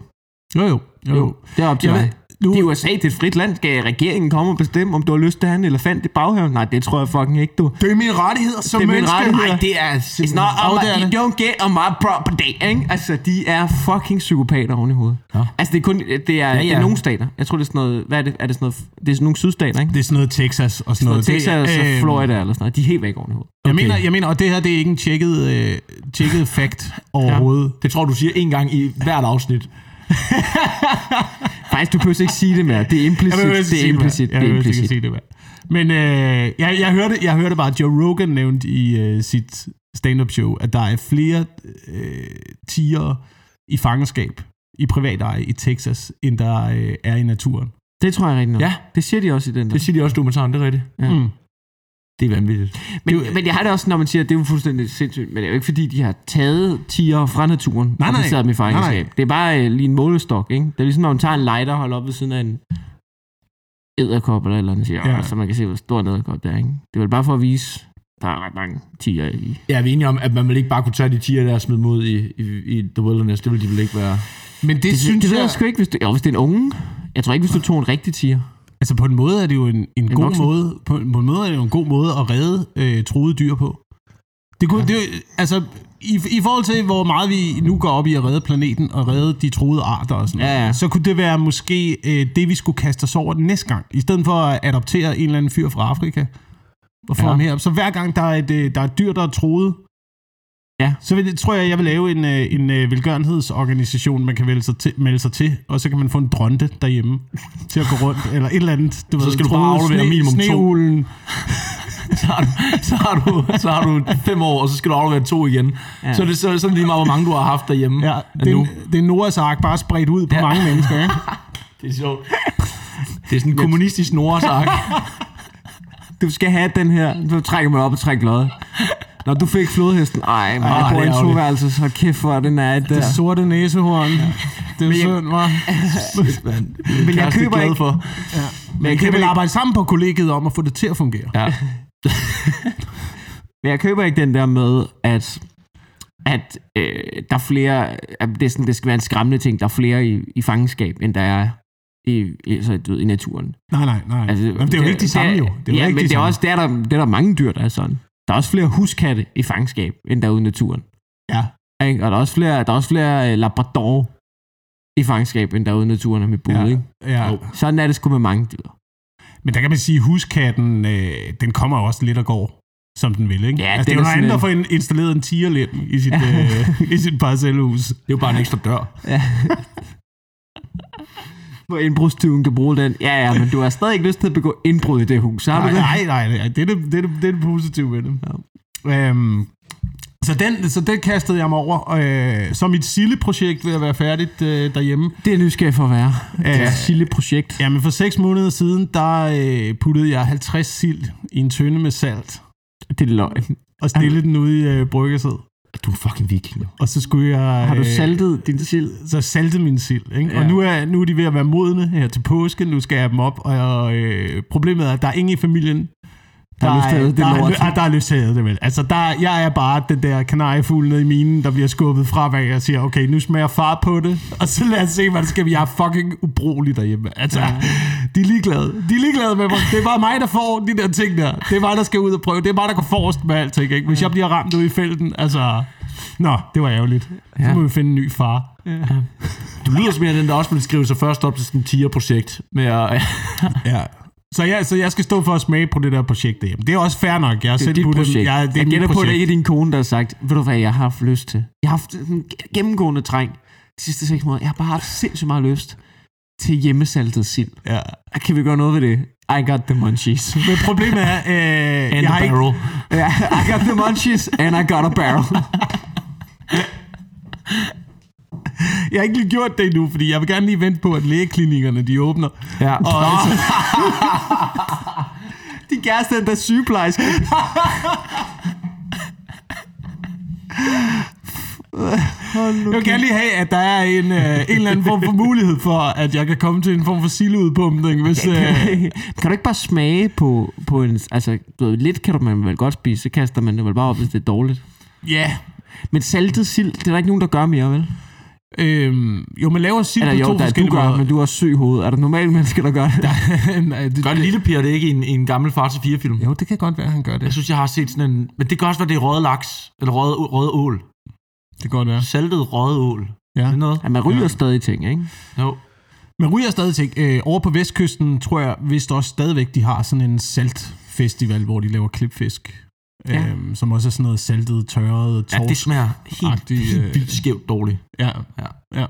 [SPEAKER 2] Jo, jo, jo. jo.
[SPEAKER 1] Det er op til
[SPEAKER 2] Jeg
[SPEAKER 1] dig.
[SPEAKER 2] ved- nu,
[SPEAKER 1] Det er USA, det er et frit land. Skal regeringen komme og bestemme, om du har lyst til at have en elefant i baghaven? Nej, det tror jeg fucking ikke, du.
[SPEAKER 2] det er min rettighed som
[SPEAKER 1] Det er min
[SPEAKER 2] menneske.
[SPEAKER 1] rettighed.
[SPEAKER 3] nej, det er
[SPEAKER 1] It's not
[SPEAKER 3] simpelthen...
[SPEAKER 1] on my,
[SPEAKER 2] afdærende.
[SPEAKER 1] you don't get on my property, ikke? Altså, de er fucking psykopater oven i hovedet.
[SPEAKER 3] Nå.
[SPEAKER 1] Altså, det er kun, det er, ja, ja. det er
[SPEAKER 3] ja.
[SPEAKER 1] nogle stater. Jeg tror, det er sådan noget, hvad er det, er det sådan noget, det er sådan nogle sydstater, ikke?
[SPEAKER 2] Det er sådan noget Texas og sådan
[SPEAKER 1] Noget
[SPEAKER 2] noget.
[SPEAKER 1] Texas og
[SPEAKER 2] det,
[SPEAKER 1] øh,
[SPEAKER 2] øhm,
[SPEAKER 1] Florida eller sådan noget. De er helt væk oven i hovedet.
[SPEAKER 2] Jeg,
[SPEAKER 3] Okay.
[SPEAKER 2] mener, jeg mener, og det her det er ikke en tjekket, øh, tjekket fact overhovedet.
[SPEAKER 3] Det tror du siger en gang i hvert afsnit.
[SPEAKER 1] Faktisk, du behøver ikke sige det mere. Det er implicit, det er implicit, det er implicit.
[SPEAKER 2] det, mand. Men øh, jeg, jeg, hørte, jeg hørte bare, at Joe Rogan nævnte i øh, sit stand-up show, at der er flere øh, tiger i fangenskab i privat eje i Texas, end der øh, er i naturen.
[SPEAKER 1] Det tror jeg rigtig nok.
[SPEAKER 3] Ja.
[SPEAKER 1] Det siger de også i den der.
[SPEAKER 3] Det siger de også i dokumentaren, det er rigtigt.
[SPEAKER 1] Ja.
[SPEAKER 2] Mm.
[SPEAKER 3] Det er vanvittigt.
[SPEAKER 1] Men, det, men jeg har det også, når man siger, at det er jo fuldstændig sindssygt, men det er jo ikke fordi, de har taget tiger fra naturen,
[SPEAKER 2] Nej,
[SPEAKER 1] og
[SPEAKER 2] nej.
[SPEAKER 1] placeret dem i
[SPEAKER 2] Nej,
[SPEAKER 1] fangenskab.
[SPEAKER 2] nej.
[SPEAKER 1] Det er bare øh, lige en målestok, ikke? Det er ligesom, når man tager en lighter og holder op ved siden af en æderkop eller et eller andet, siger,
[SPEAKER 2] Ja.
[SPEAKER 1] ja. så man kan se, hvor stor en æderkop det er, ikke? Det er vel bare for at vise, der er ret mange tiger i.
[SPEAKER 3] Jeg er vi enige om, at man vil ikke bare kunne tage de tiger der og smide mod i, i, i The Wilderness. Det vil de vel ikke være.
[SPEAKER 2] Men det, det
[SPEAKER 1] Det,
[SPEAKER 2] synes
[SPEAKER 1] det, det ved
[SPEAKER 2] jeg...
[SPEAKER 1] jeg sgu ikke, hvis det, jo, hvis det er en unge. Jeg tror ikke, hvis du tog en rigtig tiger.
[SPEAKER 2] Altså på en måde er det jo en, en, en god
[SPEAKER 1] voksen.
[SPEAKER 2] måde på, en- på en måde er det jo en god måde at redde øh, troede dyr på. Det kunne, ja. det, er jo- altså, i, I forhold til, hvor meget vi nu går op i at redde planeten og redde de troede arter og sådan
[SPEAKER 1] Ja,
[SPEAKER 2] noget,
[SPEAKER 1] ja.
[SPEAKER 2] så kunne det være måske øh, det, vi skulle kaste os over den næste gang. I stedet for at adoptere en eller anden fyr fra Afrika og få
[SPEAKER 1] Ja.
[SPEAKER 2] ja. ham herop. Så hver gang der er et, øh, der er et dyr, der er troet,
[SPEAKER 1] Ja.
[SPEAKER 2] så vil, tror jeg, jeg vil lave en, øh, en øh, velgørenhedsorganisation, man kan melde sig, til, melde sig til, og så kan man få en dronte derhjemme til at gå rundt, eller et eller andet. Du ved,
[SPEAKER 3] skal du bare
[SPEAKER 2] troede
[SPEAKER 3] aflevere minimum to.
[SPEAKER 2] sneuglen.
[SPEAKER 3] så, har du, så, har du, så har du fem år, og så skal du aflevere to igen.
[SPEAKER 1] Ja.
[SPEAKER 3] Ja. Så er det så, er det sådan lige meget, hvor mange du har haft derhjemme.
[SPEAKER 2] Ja,
[SPEAKER 3] nu.
[SPEAKER 2] det, det er Noahs ark, bare spredt ud på ja. mange mennesker. Ikke?
[SPEAKER 3] Det er sjovt. Det er sådan en kommunistisk norsak.
[SPEAKER 1] Du skal have den her. Du trækker mig op og trækker loddet. Når du fik flodhesten. Ej, man,
[SPEAKER 2] Ej,
[SPEAKER 1] jeg
[SPEAKER 2] det
[SPEAKER 1] bor
[SPEAKER 2] er
[SPEAKER 1] i en
[SPEAKER 2] ærgerligt.
[SPEAKER 1] soveværelse, så kæft hvor er det nært der.
[SPEAKER 2] Det sorte næsehorn. Det er synd, hva'?
[SPEAKER 1] Men jeg køber ikke.
[SPEAKER 3] for.
[SPEAKER 2] Men
[SPEAKER 1] køber
[SPEAKER 2] jeg kan vel
[SPEAKER 1] ikke-
[SPEAKER 2] arbejde sammen på kollegiet om at få det til at fungere.
[SPEAKER 3] Ja.
[SPEAKER 1] Men jeg køber ikke den der med, at, at øh, der er flere, at det, er sådan, det skal være en skræmmende ting, der er flere i, i fangenskab, end der er i, i, altså, du ved, i naturen.
[SPEAKER 2] Nej, nej, nej. Altså, Jamen, det er jo ikke de samme,
[SPEAKER 1] det
[SPEAKER 2] jo.
[SPEAKER 1] er-
[SPEAKER 2] Det er jo
[SPEAKER 1] ja,
[SPEAKER 2] ikke
[SPEAKER 1] men
[SPEAKER 2] de
[SPEAKER 1] det er
[SPEAKER 2] samme.
[SPEAKER 1] også, det er der, det er der mange dyr, der er sådan. Der er også flere huskatte i fangenskab, end der er ude i naturen.
[SPEAKER 2] Ja.
[SPEAKER 1] Ikke? Og der er også flere, der er også flere øh, labrador i fangenskab, end der er ude i naturen og med bud.
[SPEAKER 2] Ja.
[SPEAKER 1] Ikke?
[SPEAKER 2] Ja.
[SPEAKER 3] Jo.
[SPEAKER 1] Sådan er det sgu med mange dyr.
[SPEAKER 2] Men der kan man sige, at huskatten, øh, den kommer jo også lidt og går, som den vil, ikke?
[SPEAKER 1] Ja,
[SPEAKER 2] altså,
[SPEAKER 1] den
[SPEAKER 2] det er jo
[SPEAKER 1] er
[SPEAKER 2] noget
[SPEAKER 1] sådan
[SPEAKER 2] andet at
[SPEAKER 1] en-
[SPEAKER 2] få en, installeret en tigerlem i sit, øh, i sit parcelhus.
[SPEAKER 3] Det er jo bare en ekstra dør.
[SPEAKER 1] Hvor indbrudstyven kan bruge den. Ja, ja, men du har stadig ikke lyst til at begå indbrud i det hus, har
[SPEAKER 2] Nej,
[SPEAKER 1] du det?
[SPEAKER 2] nej, nej, nej. Det er det, det, er det, det, er det positive ved det. Ja. Øhm, så, den, så den kastede jeg mig over. og, Øh, så mit Sille-projekt ved at være færdigt øh, derhjemme.
[SPEAKER 1] Det er nysgerrig for at være. øh, Det er
[SPEAKER 2] Ja.
[SPEAKER 1] et sille projekt.
[SPEAKER 2] Jamen for seks måneder siden, der øh, puttede jeg 50 sild i en tønde med salt
[SPEAKER 1] Det er løgn.
[SPEAKER 2] og stillede den ude i øh, bryggersædet.
[SPEAKER 3] Du er en fucking viking, jo.
[SPEAKER 2] Og så skulle jeg...
[SPEAKER 1] Har du
[SPEAKER 2] øh,
[SPEAKER 1] saltet din sild?
[SPEAKER 2] så salte min sild. Ikke? Ja.
[SPEAKER 1] Ja.
[SPEAKER 2] Og nu er, nu er de ved at være modne her til påske. Nu skal jeg have dem op. Og øh, problemet er, at der er ingen i familien,
[SPEAKER 1] Der har lyst til at æde det
[SPEAKER 2] der, er-
[SPEAKER 1] lort.
[SPEAKER 2] ah, der er lyst til at æde det vel. Altså, der, jeg er bare den der kanariefugl nede i minen, der bliver skubbet fra, hvad jeg siger, okay, nu smager far på det, og så lad os se, hvad der skal vi. Jeg er fucking ubrugelig derhjemme. Altså, ja. de er ligeglade. De er ligeglade med mig. Det er bare mig, der får de der ting der. Det er mig, der skal ud og prøve. Det er mig, der går forrest med alting, ikke? Hvis jeg bliver ramt ude i felten, altså... Nå, det var ærgerligt. Så
[SPEAKER 1] Ja.
[SPEAKER 2] må vi finde en ny far.
[SPEAKER 3] Du lyder som en af den, der også ville skrive sig først op til sådan et tigerprojekt. Med at,
[SPEAKER 2] Ja. Så jeg, så jeg skal stå for at smage på det der projekt derhjemme. Det er også fair nok. Jeg har
[SPEAKER 1] Det er
[SPEAKER 2] selv
[SPEAKER 1] dit
[SPEAKER 2] puttet-
[SPEAKER 1] projekt.
[SPEAKER 2] Ja, det er
[SPEAKER 1] jeg
[SPEAKER 2] mit
[SPEAKER 1] gætter på, at det
[SPEAKER 2] projekt.
[SPEAKER 1] ikke er din kone, der har sagt, ved du hvad, jeg har haft lyst til. Jeg har haft en gennemgående træng de sidste seks måneder. Jeg har bare haft sindssygt meget lyst til hjemmesaltet sild. Ah,
[SPEAKER 2] Ja.
[SPEAKER 1] Kan vi gøre noget ved det? I got the munchies.
[SPEAKER 2] Men problemet er, øh,
[SPEAKER 3] and
[SPEAKER 2] jeg, har
[SPEAKER 3] the
[SPEAKER 2] ikke,
[SPEAKER 3] barrel.
[SPEAKER 1] Ja, I got the munchies, and I got a barrel.
[SPEAKER 2] jeg har ikke lige gjort det endnu, fordi jeg vil gerne lige vente på, at lægeklinikkerne de åbner.
[SPEAKER 1] Ja.
[SPEAKER 2] Og altså,
[SPEAKER 1] Din kæreste er endda sygeplejerske.
[SPEAKER 2] jeg vil gerne lige have, at der er en, øh, en eller anden form for mulighed for, at jeg kan komme til en form for sildeudpumpning. Hvis, øh,
[SPEAKER 1] kan du ikke bare smage på, på en... Altså, du ved, lidt kan du man vel godt spise, så kaster man det vel bare op, hvis det er dårligt.
[SPEAKER 2] ja.
[SPEAKER 1] Men saltet sild, det er der ikke nogen, der gør mere, vel?
[SPEAKER 2] Øhm, jo, man laver sild
[SPEAKER 1] Eller
[SPEAKER 2] på
[SPEAKER 1] jo,
[SPEAKER 2] to
[SPEAKER 1] der, du
[SPEAKER 2] forskellige
[SPEAKER 1] gør,
[SPEAKER 2] måder.
[SPEAKER 1] men du er også syg i hovedet. Er der normale mennesker, der gør det?
[SPEAKER 2] Nej, det,
[SPEAKER 3] Gør en lille piger det ikke i en, i en gammel far til fire film?
[SPEAKER 2] jo, det kan godt være, han gør det.
[SPEAKER 3] Jeg synes, jeg har set sådan en... Men det kan også være, det er røget laks. Eller røget, røget ål.
[SPEAKER 2] Det kan godt være.
[SPEAKER 3] Saltet røget ål. Er
[SPEAKER 2] Ja.
[SPEAKER 3] det noget?
[SPEAKER 1] Ja, man ryger stadig ting, ikke?
[SPEAKER 3] Jo.
[SPEAKER 2] Men ryger stadig ting. Øh, over på vestkysten, tror jeg, vist også stadigvæk, de har sådan en saltfestival, hvor de laver klipfisk.
[SPEAKER 1] Ja.
[SPEAKER 2] Ja. Øhm, som også er sådan noget saltet, tørret,
[SPEAKER 3] Ja,
[SPEAKER 2] tors.
[SPEAKER 3] det smager helt,
[SPEAKER 2] Agtig,
[SPEAKER 3] helt
[SPEAKER 2] øh,
[SPEAKER 3] vildt skævt dårligt.
[SPEAKER 2] ja, ja.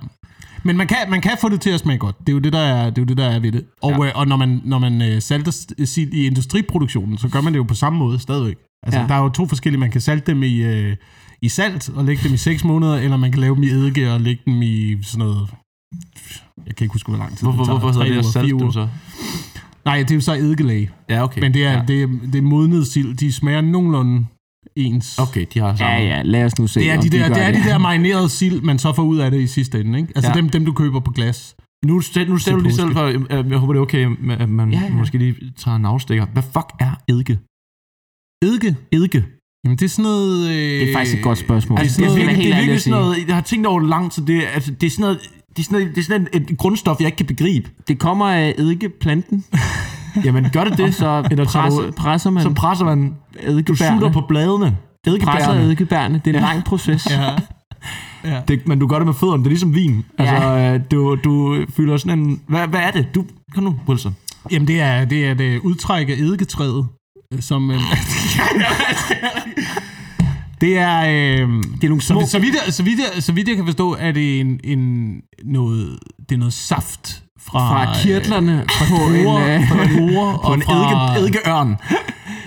[SPEAKER 2] Men man kan, man kan få det til at smage godt. Det er jo det, der er, det er, jo det, der er ved det. Og, ja. øh, og når man, når man øh, salter s- sild i industriproduktionen, så gør man det jo på samme måde stadigvæk. Altså,
[SPEAKER 1] Ja.
[SPEAKER 2] ja. der er jo to forskellige. Man kan salte dem i, øh, i salt og lægge dem i 6 måneder, eller man kan lave dem i eddike og lægge dem i sådan noget... Jeg kan ikke huske, hvor lang tid
[SPEAKER 3] Hvorfor,
[SPEAKER 2] det tager.
[SPEAKER 3] hvorfor
[SPEAKER 2] Tre
[SPEAKER 3] hedder det
[SPEAKER 2] uger,
[SPEAKER 3] at
[SPEAKER 2] fire
[SPEAKER 3] salte dem
[SPEAKER 2] uger.
[SPEAKER 3] så?
[SPEAKER 2] Nej, det er jo så eddikelage.
[SPEAKER 3] Ja, okay.
[SPEAKER 2] Men det er, ja.
[SPEAKER 3] Ja.
[SPEAKER 2] det, er, det er modnet sild. De smager nogenlunde ens.
[SPEAKER 3] Okay, de har
[SPEAKER 1] Ja,
[SPEAKER 3] sammen.
[SPEAKER 1] ja, lad os nu se,
[SPEAKER 2] Det er,
[SPEAKER 1] om
[SPEAKER 2] de der,
[SPEAKER 1] gør
[SPEAKER 2] det er de der marinerede sild, man så får ud af det i sidste ende. Ikke? Altså
[SPEAKER 3] Ja.
[SPEAKER 2] ja. dem, dem, du køber på glas.
[SPEAKER 3] Nu, stel, nu stiller du lige selv for, øh, jeg håber det er okay, med, at man
[SPEAKER 1] Ja,
[SPEAKER 3] ja,
[SPEAKER 1] ja.
[SPEAKER 3] ja. måske lige tager en afstikker. Hvad fuck er eddike?
[SPEAKER 2] Eddike?
[SPEAKER 3] Eddike.
[SPEAKER 2] Jamen det er sådan noget... Øh, det
[SPEAKER 1] er faktisk et godt spørgsmål.
[SPEAKER 2] Det er
[SPEAKER 3] Altså,
[SPEAKER 2] sådan
[SPEAKER 3] det er
[SPEAKER 2] noget,
[SPEAKER 1] virkelig-
[SPEAKER 3] virkelig, det er
[SPEAKER 1] ærlig
[SPEAKER 3] virkelig
[SPEAKER 1] at sige.
[SPEAKER 3] sådan noget, jeg har tænkt over det langt, så det, er- altså, det er sådan noget, det er sådan, noget, det er sådan et, et grundstof, jeg ikke kan begribe.
[SPEAKER 1] Det kommer af eddikeplanten,
[SPEAKER 3] Jamen, gør det
[SPEAKER 1] og
[SPEAKER 3] det,
[SPEAKER 1] så
[SPEAKER 3] Eller tager
[SPEAKER 1] presser,
[SPEAKER 3] du-
[SPEAKER 1] presser man
[SPEAKER 3] så presser man, du sutter
[SPEAKER 1] eddikebærne.
[SPEAKER 3] på bladene.
[SPEAKER 1] Presser
[SPEAKER 3] Eddikebærne.
[SPEAKER 1] eddikebærne. Det er en lang proces.
[SPEAKER 2] ja. ja.
[SPEAKER 3] Det, men du gør det med fødderne, det er ligesom vin. Altså, øh, du, du fylder sådan en... Hvad, hvad er det? Du, kom nu, Wilson.
[SPEAKER 2] Jamen det er, det er det udtræk af eddiketræet, øh, som... Øh, det er... Øh,
[SPEAKER 1] Det er nogle små...
[SPEAKER 2] så, så, vidt jeg, så, vidt jeg, så vidt jeg kan forstå, er det en, en noget, det er noget saft fra,
[SPEAKER 1] Fra kirtlerne
[SPEAKER 2] fra
[SPEAKER 1] på en,
[SPEAKER 2] druer,
[SPEAKER 1] øh,
[SPEAKER 2] fra druer
[SPEAKER 3] På
[SPEAKER 2] og
[SPEAKER 3] en
[SPEAKER 2] fra,
[SPEAKER 3] eddike, eddikeørn.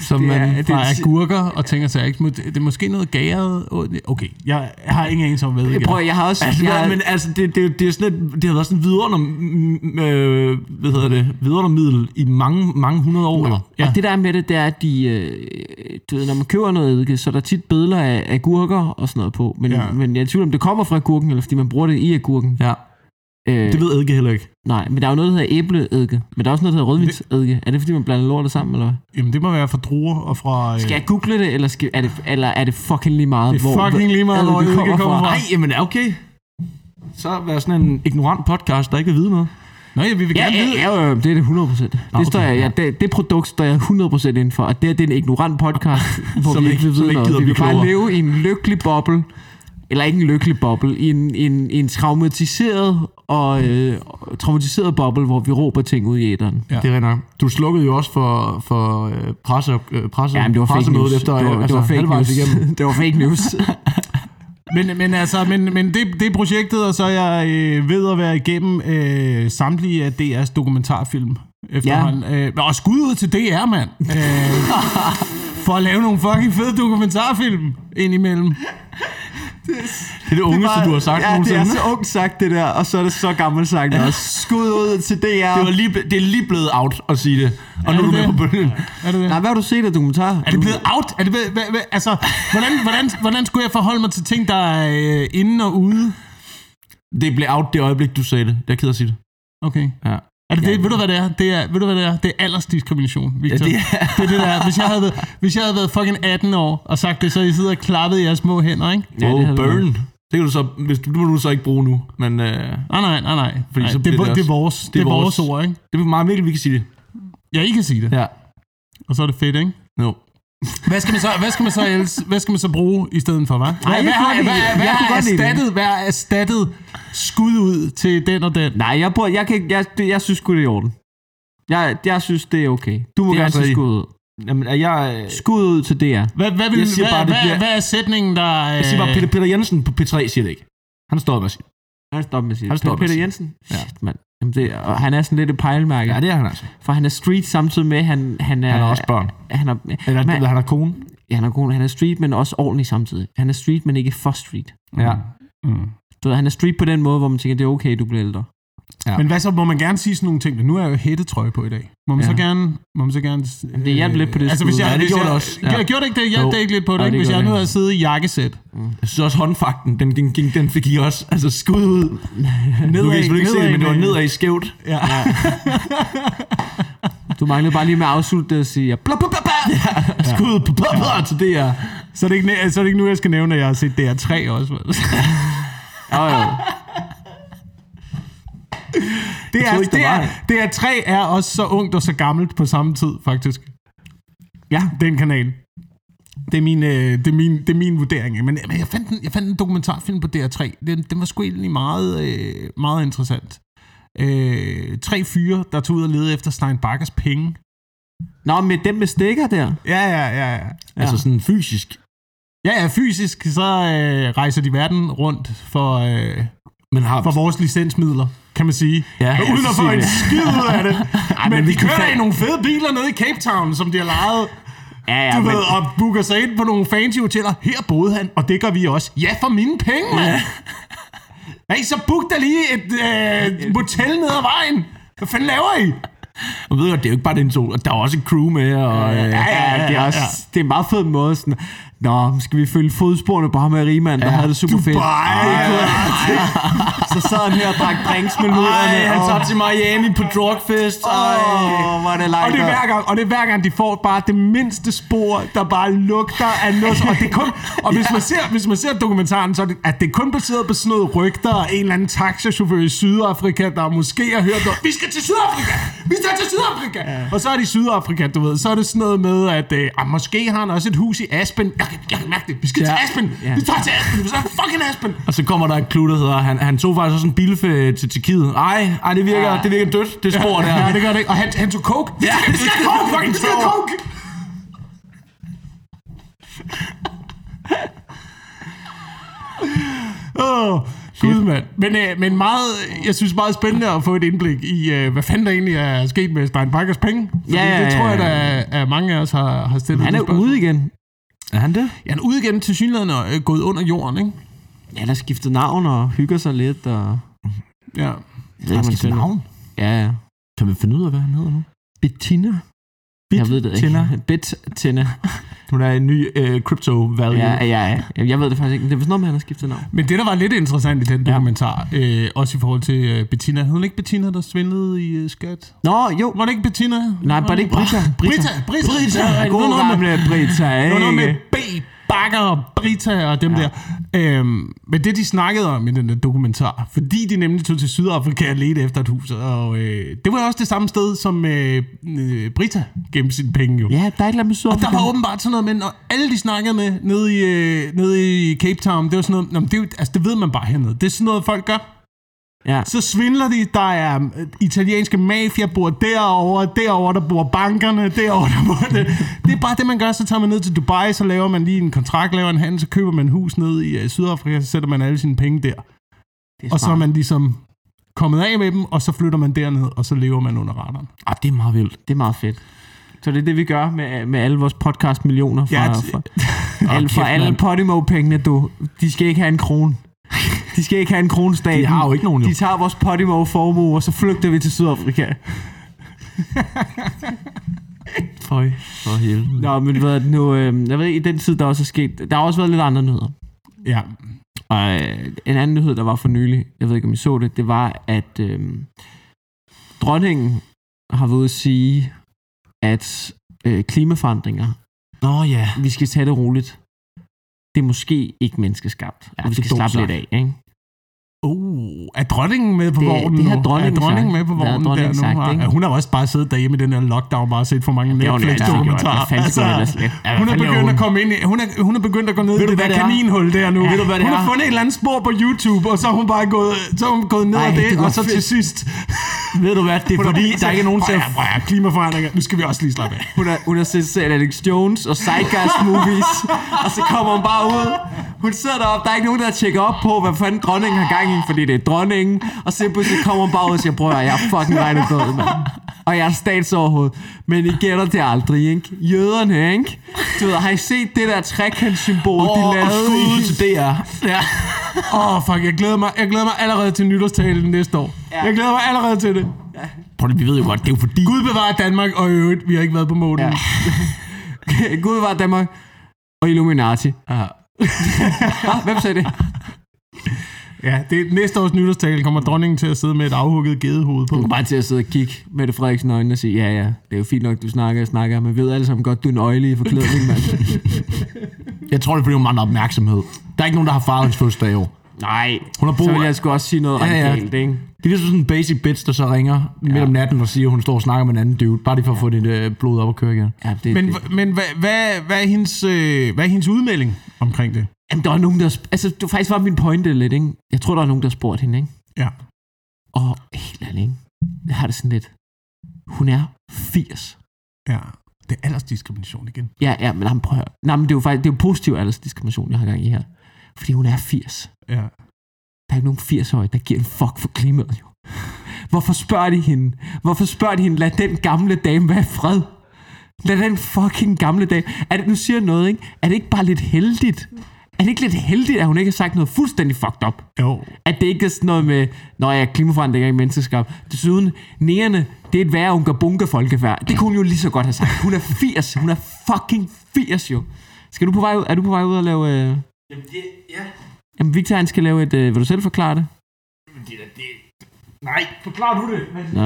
[SPEAKER 2] som
[SPEAKER 1] Det
[SPEAKER 2] man
[SPEAKER 1] er- det er
[SPEAKER 2] fra
[SPEAKER 1] en si-
[SPEAKER 2] agurker og tænker sig, ikke? Må- det er måske noget gæret. Åh, det- Okay, jeg har ingen anelse om, hvad det
[SPEAKER 1] Prøv, jeg har også...
[SPEAKER 3] Altså,
[SPEAKER 1] jeg,
[SPEAKER 3] ja, men altså, det, det, det, er sådan et, det har været sådan et vidunder, mm, øh, hvad hedder det, vidundermiddel i mange, mange hundrede år. Eller?
[SPEAKER 2] Ja.
[SPEAKER 1] Ja. Og det der er med det, det er, at de, øh, du ved, når man køber noget eddike, så er der tit billeder af agurker og sådan noget på. Men,
[SPEAKER 2] Ja.
[SPEAKER 1] ja. men jeg er i tvivl om, det kommer fra agurken, eller fordi man bruger det i agurken.
[SPEAKER 3] Ja.
[SPEAKER 1] Øh,
[SPEAKER 3] Det ved Edge heller ikke.
[SPEAKER 1] Nej, men der er jo noget, der hedder æbleeddike. Men der er også noget, der hedder rødvinseddike. Er det, fordi man blander lortet sammen, eller hvad?
[SPEAKER 2] Jamen, det må være fra druer og fra... Øh,
[SPEAKER 1] Skal jeg google det, eller, skal, er, det, eller er det fucking lige meget,
[SPEAKER 2] det er fucking lige meget,
[SPEAKER 1] hvor
[SPEAKER 2] hvor det
[SPEAKER 1] eddike
[SPEAKER 2] kommer
[SPEAKER 1] kommer
[SPEAKER 2] fra.
[SPEAKER 1] fra?
[SPEAKER 3] Nej, jamen okay. Så være sådan en ignorant podcast, der ikke vil vide noget.
[SPEAKER 2] Nå ja, vi vil
[SPEAKER 1] Ja,
[SPEAKER 2] gerne
[SPEAKER 1] ja,
[SPEAKER 2] vide.
[SPEAKER 1] ja, ja, det er det 100%. Det,
[SPEAKER 3] okay,
[SPEAKER 1] står jeg,
[SPEAKER 3] ja.
[SPEAKER 1] ja, det, det produkt står jeg 100% inden for, og det, her, det er en ignorant podcast, hvor
[SPEAKER 3] Som
[SPEAKER 1] vi
[SPEAKER 3] ikke-
[SPEAKER 1] ikke vil
[SPEAKER 3] som
[SPEAKER 1] vide
[SPEAKER 3] ikke
[SPEAKER 1] noget.
[SPEAKER 3] gider
[SPEAKER 1] Vi
[SPEAKER 3] blive
[SPEAKER 1] vil bare
[SPEAKER 3] klogere.
[SPEAKER 1] leve i en lykkelig boble, eller ikke en lykkelig boble, i en, en, en traumatiseret og øh, traumatiseret boble, hvor vi råber ting ud i æderen.
[SPEAKER 2] Ja.
[SPEAKER 3] Ja. Det er rigtigt nok. Du slukkede jo også for, for øh, presse, øh, presse,
[SPEAKER 1] Ja, men det var fake news.
[SPEAKER 3] pressemødet efter,
[SPEAKER 1] det, var,
[SPEAKER 3] øh,
[SPEAKER 1] det var fake
[SPEAKER 3] halvvejs
[SPEAKER 1] news. det var fake news.
[SPEAKER 2] Men, men altså, men, men det, det er projektet, og så er jeg øh, ved at være igennem øh, samtlige af DR's dokumentarfilm efterhånden. Ja. Øh, og skud ud til DR, mand! Øh, for at lave nogle fucking fede dokumentarfilm indimellem.
[SPEAKER 3] Det er det ungeste, du har sagt
[SPEAKER 1] ja, det
[SPEAKER 3] nogensinde.
[SPEAKER 1] er så ungt sagt, det der, og så er det så gammelt sagt også. Skud ud til DR.
[SPEAKER 3] det, var lige, det er lige blevet out at sige det. Og
[SPEAKER 2] Er
[SPEAKER 3] nu er du
[SPEAKER 2] det
[SPEAKER 3] med
[SPEAKER 2] det?
[SPEAKER 3] på bølgen.
[SPEAKER 2] Er det det?
[SPEAKER 1] Nej, hvad har du set af dokumentar?
[SPEAKER 2] Er det blevet out? Er det blevet, hvad, hvad, altså, hvordan, hvordan, hvordan skulle jeg forholde mig til ting, der er øh, inde og ude?
[SPEAKER 3] Det blev out det øjeblik, du sagde det. Jeg er ked af at sige det.
[SPEAKER 2] Okay.
[SPEAKER 3] Ja.
[SPEAKER 2] Er det, det, ved du, hvad det er? Det er, ved du, hvad det er? Det er aldersdiskrimination, Victor.
[SPEAKER 3] Ja, det
[SPEAKER 2] er det, er det der er. Hvis jeg, havde, været- hvis jeg havde været fucking 18 år og sagt det, så I sidder og klappede i jeres små hænder, ikke?
[SPEAKER 1] Ja, det
[SPEAKER 3] wow,
[SPEAKER 1] havde det
[SPEAKER 3] Oh, burn. Det kan du så, hvis du, det må du så ikke bruge nu. Men øh,
[SPEAKER 2] Nej, nej, nej, nej.
[SPEAKER 3] Fordi
[SPEAKER 2] nej
[SPEAKER 3] så
[SPEAKER 2] det,
[SPEAKER 3] bliver
[SPEAKER 2] er,
[SPEAKER 3] det
[SPEAKER 2] det, det, er
[SPEAKER 3] også-
[SPEAKER 2] vores, det, er vores ord, ikke?
[SPEAKER 3] det er meget vigtigt, vi kan sige det.
[SPEAKER 2] Ja, I kan sige det. Ja.
[SPEAKER 3] Ja.
[SPEAKER 2] Og så er det fedt, ikke?
[SPEAKER 3] No.
[SPEAKER 2] Hvad skal man så, hvad skal man så, ellers, hvad skal man så bruge i stedet for, hvad? Hvad,
[SPEAKER 1] jeg kunne
[SPEAKER 2] hvad, har-
[SPEAKER 1] godt lide
[SPEAKER 2] hvad,
[SPEAKER 1] det.
[SPEAKER 2] hvad,
[SPEAKER 1] Jeg kunne
[SPEAKER 2] har
[SPEAKER 1] godt lide det.
[SPEAKER 2] erstattet, hvad har erstattet skud ud til den og den?
[SPEAKER 1] Nej, jeg, bruger, jeg, kan, ikke- jeg, det, jeg synes sgu, det er i orden. Jeg, jeg synes, det er okay. Du må
[SPEAKER 3] Det er
[SPEAKER 1] gerne
[SPEAKER 3] altså
[SPEAKER 1] sige
[SPEAKER 3] i-
[SPEAKER 1] skud ud.
[SPEAKER 3] Jamen, er jeg... Øh,
[SPEAKER 1] Skud ud til DR.
[SPEAKER 2] Hvad, hvad, vil,
[SPEAKER 3] Jeg siger
[SPEAKER 2] hvad,
[SPEAKER 3] bare, det
[SPEAKER 2] hvad,
[SPEAKER 3] bliver-
[SPEAKER 2] hvad er sætningen, der... øh,
[SPEAKER 3] jeg siger bare, Peter, Peter Jensen på P3 siger det ikke. Han står med at sige det.
[SPEAKER 1] Han stopper med at sige
[SPEAKER 3] Han
[SPEAKER 1] det.
[SPEAKER 3] stopper
[SPEAKER 1] Peter,
[SPEAKER 3] med at
[SPEAKER 1] Peter
[SPEAKER 3] sige
[SPEAKER 1] Jensen?
[SPEAKER 3] Ja.
[SPEAKER 1] Shit, mand. Jamen det, og han er sådan lidt et pejlemærke.
[SPEAKER 3] Ja, det er han altså.
[SPEAKER 1] For han er street samtidig med, han, han er...
[SPEAKER 3] Han har også børn.
[SPEAKER 1] Han er,
[SPEAKER 3] Eller
[SPEAKER 1] Men-
[SPEAKER 3] han har kone.
[SPEAKER 1] ja, han er, god, han er street, men også ordentlig samtidig. Han er street, men ikke for street.
[SPEAKER 3] Ja.
[SPEAKER 2] Mm.
[SPEAKER 1] Du ved, han er street på den måde, hvor man tænker, det er okay, du bliver ældre.
[SPEAKER 3] Ja.
[SPEAKER 2] Men hvad så, må man gerne sige sådan nogle ting? Men Nu er jeg jo hættetrøje på i dag. Må man ja.
[SPEAKER 1] Ja.
[SPEAKER 2] så gerne... Må man så gerne
[SPEAKER 1] Jamen, det hjalp lidt på det
[SPEAKER 2] Altså,
[SPEAKER 1] skud.
[SPEAKER 2] hvis jeg,
[SPEAKER 1] Ja,
[SPEAKER 3] det
[SPEAKER 2] hvis
[SPEAKER 3] gjorde
[SPEAKER 2] jeg,
[SPEAKER 3] det også. Ja.
[SPEAKER 2] Jeg gjorde det ikke det? Hjalp
[SPEAKER 3] Jo.
[SPEAKER 2] det ikke lidt på det?
[SPEAKER 1] Ja,
[SPEAKER 2] ikke?
[SPEAKER 1] det
[SPEAKER 2] Hvis
[SPEAKER 1] gjorde
[SPEAKER 2] jeg nu
[SPEAKER 1] det.
[SPEAKER 2] havde siddet i jakkesæt.
[SPEAKER 3] Jeg synes også håndfakten, den, den, den, den fik I også altså, skud ud.
[SPEAKER 2] Nedad,
[SPEAKER 3] nu kan I selvfølgelig ikke se det, men det var
[SPEAKER 2] med-
[SPEAKER 3] nedad i skævt.
[SPEAKER 2] Ja.
[SPEAKER 1] Du manglede bare lige med at afslutte det og sige, blop, blop, blop, blop.
[SPEAKER 3] Skud på papper til Altså, det her.
[SPEAKER 2] så, er det ikke, næ- så er det ikke nu, jeg skal nævne, at jeg har set DR3 også. vel?
[SPEAKER 1] Ja, ja.
[SPEAKER 2] det, er,
[SPEAKER 3] troede ikke, der
[SPEAKER 2] det,
[SPEAKER 3] var
[SPEAKER 2] er, DR3 er også så ungt og så gammelt på samme tid, faktisk.
[SPEAKER 1] Ja.
[SPEAKER 2] Den kanal. Det er min, øh, det er min, det er min vurdering. ikke? Men, men jeg, fandt en, jeg fandt en dokumentarfilm på DR3. Den, den var sgu egentlig meget, øh, meget interessant. Øh, tre fyre, der tog ud og ledte efter Stein Bakkers penge.
[SPEAKER 1] Nå, med dem med stikker der.
[SPEAKER 2] Ja, ja, ja. ja.
[SPEAKER 3] Altså sådan fysisk.
[SPEAKER 2] Ja, ja, fysisk, så øh, rejser de verden rundt for, øh,
[SPEAKER 3] Men har...
[SPEAKER 2] for vores licensmidler, kan man sige.
[SPEAKER 3] Ja,
[SPEAKER 2] Og uden at få
[SPEAKER 3] sige
[SPEAKER 2] en
[SPEAKER 3] det.
[SPEAKER 2] skid ud af det. Ej, men,
[SPEAKER 1] men
[SPEAKER 2] men
[SPEAKER 1] vi
[SPEAKER 2] de
[SPEAKER 1] kan
[SPEAKER 2] kører
[SPEAKER 1] fa-
[SPEAKER 2] i nogle fede biler nede i Cape Town, som de har lejet.
[SPEAKER 1] Ja, ja,
[SPEAKER 2] Du
[SPEAKER 1] men,
[SPEAKER 2] ved, og booker sig ind på nogle fancy hoteller. Her boede han, og det gør vi også. Ja, for mine penge, mand. Hey, så book der lige et øh, motel ned ad vejen. Hvad fanden laver I?
[SPEAKER 3] Og ved du, det er jo ikke bare den to. Der er også et crew med, og... Øh,
[SPEAKER 1] Ja, ja, ja, det er også det er en meget fed måde. Sådan, Nå, skal vi følge fodsporene på ham her rigmand, der havde det super fedt.
[SPEAKER 2] Dubai.
[SPEAKER 1] Så sad han her og drak drinks med luderne.
[SPEAKER 3] Ej, han
[SPEAKER 1] og-
[SPEAKER 3] tager til Miami på drugfest. Ej.
[SPEAKER 1] Åh, hvor er det langt.
[SPEAKER 2] Og det, er hver gang, og det er hver gang, de får bare det mindste spor, der bare lugter af noget. Og, det er kun, og hvis, man ser, hvis man ser dokumentaren, så er det, at det er kun baseret på sådan noget rygter og en eller anden taxachauffør i Sydafrika, der måske har hørt noget. Vi skal til Sydafrika! Vi skal til Sydafrika! Ja. Og så er det i Sydafrika, du ved. Så er det sådan noget med, at øh, ah, måske har han også et hus i Aspen. Jeg kan, jeg kan mærke det. Vi skal ja. til Aspen! Ja.
[SPEAKER 1] Ja.
[SPEAKER 2] Vi tager til Aspen! Vi tager til fucking Aspen!
[SPEAKER 3] Og så kommer der et klud, der hedder, han, han tog faktisk også en bilferie til Tjekkiet. Ej, ej, det virker, det virker dødt, det spor der.
[SPEAKER 2] Ja, det gør det ikke. Og han, han tog coke. Vi skal, vi skal have coke, fucking! Vi skal have coke! Åh, Gud, mand. Men, øh, men meget, jeg synes meget spændende at få et indblik i, øh, hvad fanden der egentlig er sket med Stein Bakkers penge. Fordi
[SPEAKER 1] Ja, ja,
[SPEAKER 2] det
[SPEAKER 1] ja,
[SPEAKER 2] tror jeg,
[SPEAKER 1] ja.
[SPEAKER 2] der er mange af os har, har stillet.
[SPEAKER 1] Han
[SPEAKER 2] det
[SPEAKER 1] er
[SPEAKER 2] spørgsmål.
[SPEAKER 1] ude igen.
[SPEAKER 3] Er han det?
[SPEAKER 2] Ja, han er ude igen til synligheden og øh, gået under jorden, ikke?
[SPEAKER 1] Ja, der skiftet navn og hygger sig lidt. Og...
[SPEAKER 2] Ja.
[SPEAKER 1] Jeg ved ikke, om han spiller. Ja, ja.
[SPEAKER 3] Kan man finde ud af, hvad han hedder nu?
[SPEAKER 1] Bettina. jeg ved det
[SPEAKER 3] Bettina.
[SPEAKER 1] ikke. Bettina.
[SPEAKER 3] Hun er en ny øh, crypto value.
[SPEAKER 1] Ja, ja, ja. Jeg ved det faktisk ikke. Det er vist noget med, at han har skiftet navn.
[SPEAKER 2] Men det, der var lidt interessant i den dokumentar, øh, også i forhold til øh, Bettina. Hed hun ikke Bettina, der svindlede i øh, skat?
[SPEAKER 1] Nå, jo.
[SPEAKER 2] Var det ikke Bettina?
[SPEAKER 1] Nej, var det ikke Brita?
[SPEAKER 2] Brita, Brita,
[SPEAKER 1] Brita.
[SPEAKER 2] Ja,
[SPEAKER 1] God
[SPEAKER 2] noget med-
[SPEAKER 1] gamle Brita,
[SPEAKER 2] Det var noget med
[SPEAKER 1] ikke?
[SPEAKER 2] B, Bakker og Brita og dem ja. der. Øhm, men det, de snakkede om i den der dokumentar, fordi de nemlig tog til Sydafrika og ledte efter et hus, og øh, det var også det samme sted, som øh, øh, Brita gemte sine penge jo.
[SPEAKER 1] Ja, der er et eller andet med
[SPEAKER 2] Og der var
[SPEAKER 1] Sydafrika.
[SPEAKER 2] åbenbart sådan noget, men og alle de snakkede med nede i, øh, nede i Cape Town, det var sådan noget, nå, men det, er jo- altså, det ved man bare hernede. Det er sådan noget, folk gør.
[SPEAKER 1] Ja.
[SPEAKER 2] Så svindler de, der er øh, italienske mafia, bor derovre, derovre, der bor bankerne, derovre, der bor det. Det er bare det, man gør. Så tager man ned til Dubai, så laver man lige en kontrakt, laver en handel, så køber man hus ned i øh, Sydafrika, så sætter man alle sine penge der.
[SPEAKER 1] Det er
[SPEAKER 2] Og så er
[SPEAKER 1] smart.
[SPEAKER 2] man ligesom kommet af med dem, og så flytter man derned, og så lever man under radaren.
[SPEAKER 3] Ah, det er meget vildt.
[SPEAKER 1] Det er meget fedt. Så det er det, vi gør med, med alle vores podcast-millioner fra,
[SPEAKER 2] Ja,
[SPEAKER 1] ja,
[SPEAKER 2] det-
[SPEAKER 1] fra, alle, fra
[SPEAKER 3] kæft,
[SPEAKER 1] alle
[SPEAKER 3] mand.
[SPEAKER 1] Podimo-pengene, du. De skal ikke have en krone. De skal ikke have en krone staten.
[SPEAKER 3] De har jo ikke nogen, jo.
[SPEAKER 1] De tager vores Podimo-formue, og så flygter vi til Sydafrika.
[SPEAKER 3] Føj, for helvede.
[SPEAKER 1] Nå, men hvad er det nu? Øh, jeg ved ikke, i den tid, der også er sket... Der har også været lidt andre nyheder.
[SPEAKER 2] Ja.
[SPEAKER 1] Og øh, en anden nyhed, der var for nylig, jeg ved ikke, om I så det, det var, at øh, dronningen har været ude at sige, at øh, klimaforandringer,
[SPEAKER 3] Nå ja.
[SPEAKER 1] vi skal tage det roligt. Det er måske ikke menneskeskabt, ja, og vi
[SPEAKER 3] det er
[SPEAKER 1] skal
[SPEAKER 3] dumt
[SPEAKER 1] slappe lidt af. Ikke?
[SPEAKER 2] Uh, er dronningen med på
[SPEAKER 1] Det-
[SPEAKER 2] vognen
[SPEAKER 1] det har
[SPEAKER 2] nu?
[SPEAKER 1] dronningen
[SPEAKER 2] er dronningen
[SPEAKER 1] sagt.
[SPEAKER 2] med på
[SPEAKER 1] Det har
[SPEAKER 2] vognen
[SPEAKER 1] dronningen
[SPEAKER 2] der nu?
[SPEAKER 1] sagt,
[SPEAKER 2] Sagt,
[SPEAKER 1] ikke?
[SPEAKER 2] ikke? Hun har også bare siddet derhjemme i den her lockdown, bare set for mange
[SPEAKER 1] Det er hun altid gjort. Hvad
[SPEAKER 2] Netflix-dokumentarer.
[SPEAKER 1] fanden skulle hun ellers lave? Ja,
[SPEAKER 2] hun er
[SPEAKER 1] hvad fanden
[SPEAKER 2] begyndt
[SPEAKER 1] laver
[SPEAKER 2] at komme ind i, hun er, hun er begyndt at gå ned
[SPEAKER 1] Ved
[SPEAKER 2] i
[SPEAKER 1] du,
[SPEAKER 2] det
[SPEAKER 1] hvad
[SPEAKER 2] der
[SPEAKER 1] det er?
[SPEAKER 2] kaninhul der nu.
[SPEAKER 1] Ved du, hvad det
[SPEAKER 2] hun
[SPEAKER 1] er?
[SPEAKER 2] har fundet et eller andet spor på YouTube, og så er hun bare gået, så er hun gået ned
[SPEAKER 1] Ej,
[SPEAKER 2] af det,
[SPEAKER 1] det var
[SPEAKER 2] og så
[SPEAKER 1] fedt.
[SPEAKER 2] til sidst...
[SPEAKER 1] Ved du hvad, det er fordi, der er ikke er nogen til at...
[SPEAKER 2] at... klimaforandringer, nu skal vi også lige slappe af.
[SPEAKER 1] Hun har, hun har set set Alex Jones og Zeitgeist movies, og så kommer hun bare ud. Hun sidder deroppe, der er ikke nogen, der tjekker op på, hvad fanden dronningen har gang i, fordi det er dronningen. Og så pludselig kommer hun bare ud og siger, prøv at høre, jeg er fucking regnet død, mand. Og jeg er statsoverhoved. Men I gætter det aldrig, ikke? Jøderne, ikke? Du ved, har I set det der trekantssymbol, oh, de lavede i...
[SPEAKER 3] til DR.
[SPEAKER 2] Ja. Åh, oh, fuck, jeg glæder, mig, jeg glæder mig allerede til nytårstalen næste år. Ja. Jeg glæder mig allerede til det.
[SPEAKER 3] Prøv lige, vi ved jo godt, det er jo fordi...
[SPEAKER 2] Gud bevarer Danmark, og i øvrigt, vi har ikke været på månen.
[SPEAKER 1] Ja.
[SPEAKER 2] Ja.
[SPEAKER 1] Gud var Danmark og Illuminati.
[SPEAKER 3] Ja.
[SPEAKER 1] Ah, hvem sagde det?
[SPEAKER 2] Ja, det, næste års nytårstale kommer dronningen til at sidde med et afhugget gedehoved på.
[SPEAKER 1] Du kommer bare til at sidde og kigge Mette Frederiksen i øjnene og sige, ja ja, det er jo fint nok, du snakker og snakker, men ved alle sammen godt, du er en øjelig i forklædning, mand.
[SPEAKER 3] Jeg tror, det er fordi, hun mangler opmærksomhed. Der er ikke nogen, der har far hans fødselsdag i år.
[SPEAKER 1] Nej,
[SPEAKER 3] Hun har brug
[SPEAKER 1] så vil
[SPEAKER 3] for-
[SPEAKER 1] jeg sgu også sige noget
[SPEAKER 3] Ja, ja.
[SPEAKER 1] radikalt, ikke?
[SPEAKER 3] Det er ligesom sådan en basic bitch, der så ringer ja. midt om natten og siger, at hun står og snakker med en anden dude. Bare lige for at få dit øh, blod op og køre igen.
[SPEAKER 1] Ja, det,
[SPEAKER 2] Men,
[SPEAKER 1] det.
[SPEAKER 2] hva- men hvad, hvad, hvad, er hendes, øh, hvad er hendes udmelding omkring det?
[SPEAKER 1] Jamen, der var nogen, der... sp- Altså, det var faktisk var min pointe lidt, ikke? Jeg tror, der var nogen, der spurgte hende, ikke?
[SPEAKER 2] Ja.
[SPEAKER 1] Og helt ærligt, ikke? Jeg har det sådan lidt... Hun er 80.
[SPEAKER 2] ja. Det er aldersdiskrimination igen.
[SPEAKER 1] Ja, ja, men jamen, prøv at høre. Nej, men det er jo faktisk det er jo positiv aldersdiskrimination, jeg har gang i her. Fordi hun er 80.
[SPEAKER 2] Ja.
[SPEAKER 1] Der er ikke nogen 80-årige, der giver en fuck for klimaet, jo. Hvorfor spørger de hende? Hvorfor spørger de hende? Lad den gamle dame være i fred. Lad den fucking gamle dame... Er det, nu siger jeg noget, ikke? Er det ikke bare lidt heldigt? Er det ikke lidt heldigt, at hun ikke har sagt noget fuldstændig fucked up?
[SPEAKER 2] Jo.
[SPEAKER 1] At det ikke er sådan noget med, når jeg ja, klimaforandring er ikke menneskeskab. Desuden, nærende, det er et værre unker bunker folkefærd. Det kunne hun jo lige så godt have sagt. Hun er 80. Hun er fucking 80 jo. Skal du på vej ud? Er du på vej ud og lave... Øh... Jamen, det, ja. Jamen, Victor, han skal lave et... Øh... Vil du selv forklare det?
[SPEAKER 2] Nej, forklarer du det?
[SPEAKER 1] Nå.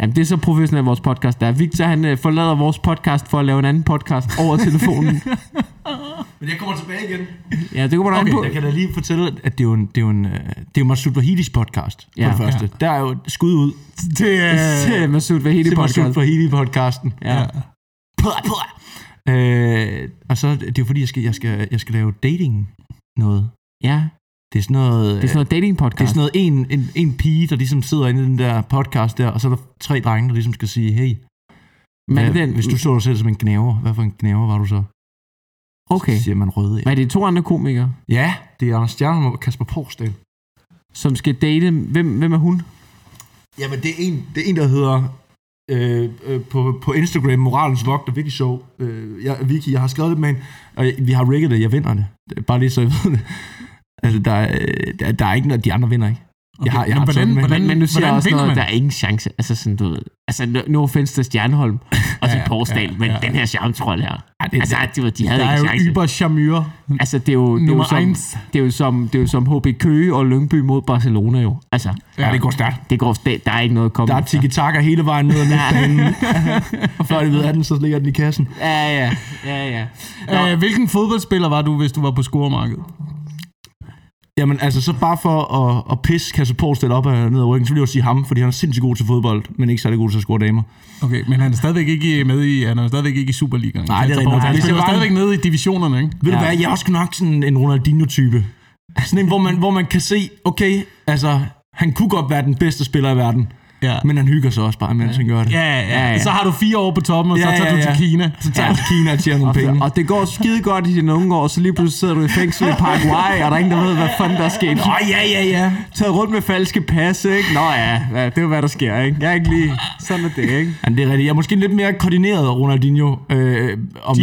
[SPEAKER 1] Jamen, det er så professionelt, vores podcast er. Victor, han øh, forlader vores podcast for at lave en anden podcast over telefonen.
[SPEAKER 3] Men jeg kommer tilbage igen.
[SPEAKER 1] ja, det kommer du okay,
[SPEAKER 2] Okay,
[SPEAKER 1] an på.
[SPEAKER 3] Jeg kan da lige fortælle, at det er jo en, det er jo en, øh, det er jo Masud Vahidis podcast, for
[SPEAKER 1] Ja.
[SPEAKER 3] det første. Der er jo et skud ud
[SPEAKER 2] Det,
[SPEAKER 1] Det
[SPEAKER 2] øh,
[SPEAKER 1] er Masud Vahidi
[SPEAKER 3] til Masud
[SPEAKER 1] podcast.
[SPEAKER 3] Vahidi-podcasten.
[SPEAKER 1] Ja.
[SPEAKER 3] Pua, pua. Øh, og så det er det jo fordi, jeg skal, jeg skal, jeg skal lave dating noget.
[SPEAKER 1] ja,
[SPEAKER 3] Det er sådan noget...
[SPEAKER 1] det er sådan noget dating
[SPEAKER 3] det er
[SPEAKER 1] podcast.
[SPEAKER 3] sådan noget en, en, en pige, der ligesom sidder inde i den der podcast der, og så er der tre drenge, der ligesom skal sige, hey,
[SPEAKER 1] Men
[SPEAKER 3] hvad,
[SPEAKER 1] den,
[SPEAKER 3] hvis du så dig selv som en knæver, hvad for en knæver var du så?
[SPEAKER 1] Okay.
[SPEAKER 3] Så siger man røde.
[SPEAKER 1] Hvad er det to andre komikere,
[SPEAKER 3] Ja, det er Anders Stjernholm og Kasper Porsdal.
[SPEAKER 1] som skal date? Hvem, hvem er hun?
[SPEAKER 3] Jamen, det er en, det er en der hedder øh, øh, på, på Instagram, Moralens Vogter, Vicky Show. Øh, jeg, Vicky, jeg har skrevet det med hende, og jeg, vi har rigget det, jeg vinder det. Det er Bare lige så jeg ved det. Altså, der, er, øh, der, der er ikke noget, de andre vinder ikke. Jeg har, jeg har
[SPEAKER 2] hvordan,
[SPEAKER 3] sådan med-
[SPEAKER 2] hvordan,
[SPEAKER 1] Men, men nu siger
[SPEAKER 2] hvordan
[SPEAKER 1] jeg også
[SPEAKER 2] vinder
[SPEAKER 1] noget,
[SPEAKER 2] man?
[SPEAKER 1] der er ingen chance. Altså sådan, du ved, altså no, no offense til Stjernholm og til
[SPEAKER 2] Ja, ja,
[SPEAKER 1] Porsdal, men
[SPEAKER 2] ja, ja.
[SPEAKER 1] den her charmetrol her.
[SPEAKER 3] Ej, det,
[SPEAKER 1] Altså, de, var- de havde
[SPEAKER 2] Der er
[SPEAKER 1] ikke
[SPEAKER 2] jo
[SPEAKER 1] chance.
[SPEAKER 2] yber charmeur.
[SPEAKER 1] Altså, det er jo, det er jo
[SPEAKER 2] Nummer
[SPEAKER 1] som,
[SPEAKER 2] eins.
[SPEAKER 1] det er jo som, det er jo som HB Køge og Lyngby mod Barcelona jo. Altså,
[SPEAKER 3] ja, det går stærkt.
[SPEAKER 1] det går, det, der er ikke noget at komme
[SPEAKER 3] Der er
[SPEAKER 1] efter.
[SPEAKER 3] tiki-taka hele vejen ned ad midtbanen. og før de ved af den, så ligger den i kassen.
[SPEAKER 1] Ja, ja, ja, ja. Nå,
[SPEAKER 2] Øh, hvilken fodboldspiller var du, hvis du var på scoremarkedet?
[SPEAKER 3] Jamen altså, så bare for at, at pisse Kasper Porsdal op og ned ad ryggen, så vil jeg jo sige ham, fordi han er sindssygt god til fodbold, men ikke særlig god til at score damer.
[SPEAKER 2] Okay, men han er stadigvæk ikke med i, han er stadigvæk ikke i Superligaen.
[SPEAKER 3] Nej, det er
[SPEAKER 2] Kasper
[SPEAKER 3] rigtigt.
[SPEAKER 2] Poulsen.
[SPEAKER 3] Nej,
[SPEAKER 2] Han
[SPEAKER 3] hvis jeg
[SPEAKER 2] spiller
[SPEAKER 3] var en-
[SPEAKER 2] stadigvæk nede i divisionerne, ikke?
[SPEAKER 3] Ved ja.
[SPEAKER 1] Ja.
[SPEAKER 3] du hvad, jeg er også nok sådan en Ronaldinho-type. Altså, Sådan en, hvor man, hvor man kan se, okay, altså, han kunne godt være den bedste spiller i verden,
[SPEAKER 2] Ja.
[SPEAKER 3] men han hygger sig også bare, mens ja. han gør det.
[SPEAKER 2] Ja, ja,
[SPEAKER 1] Ja,
[SPEAKER 2] ja,
[SPEAKER 1] ja.
[SPEAKER 2] Så har du fire år på toppen, og så
[SPEAKER 3] Ja,
[SPEAKER 2] tager
[SPEAKER 3] ja,
[SPEAKER 2] du til
[SPEAKER 3] ja.
[SPEAKER 2] Kina.
[SPEAKER 3] Så tager han til Kina og tjener nogle penge.
[SPEAKER 1] Og det går skide godt i dine unge år, så lige pludselig sidder du i fængsel i Paraguay, og der er ingen, der ved, hvad fanden der er sket.
[SPEAKER 3] Åh, ja, ja, ja.
[SPEAKER 1] Taget rundt med falske pas, ikke? Nå ja, ja, det er jo, hvad der sker, ikke? Jeg er ikke lige... Sådan er det, ikke?
[SPEAKER 3] Ja, det er rigtigt. Jeg er måske lidt mere koordineret Ronaldinho. Øh, og med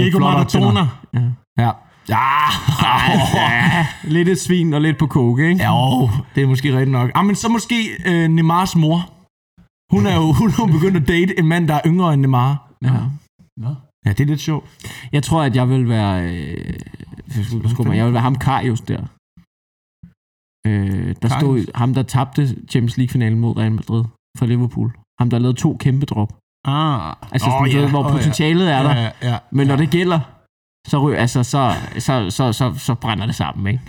[SPEAKER 2] Diego
[SPEAKER 3] flottere
[SPEAKER 2] Maradona.
[SPEAKER 3] tænder. Ja. Ja.
[SPEAKER 1] Ja, lidt et svin og lidt på koke, ikke?
[SPEAKER 3] Ja, jo, det er måske rigtigt nok. Ah, men så måske øh, Neymars mor. Hun er jo hun er jo begyndt at date en mand, der er yngre end Neymar.
[SPEAKER 1] Ja.
[SPEAKER 2] Nå.
[SPEAKER 3] Ja, det er lidt sjovt.
[SPEAKER 1] Jeg tror, at jeg vil være... Øh, jeg skulle passe på mig. jeg vil være ham Karius der. Øh, der
[SPEAKER 2] Karius?
[SPEAKER 1] stod ham, der tabte Champions League-finalen mod Real Madrid for Liverpool. Ham, der lavede to kæmpe drop.
[SPEAKER 2] Ah.
[SPEAKER 1] Altså,
[SPEAKER 2] Åh,
[SPEAKER 1] sådan,
[SPEAKER 2] ja.
[SPEAKER 1] yeah. hvor
[SPEAKER 2] Åh, ja.
[SPEAKER 1] potentialet er der.
[SPEAKER 2] Ja, ja.
[SPEAKER 1] Men når det gælder, så, ryger, altså, så, så, så, så, så brænder det sammen, ikke?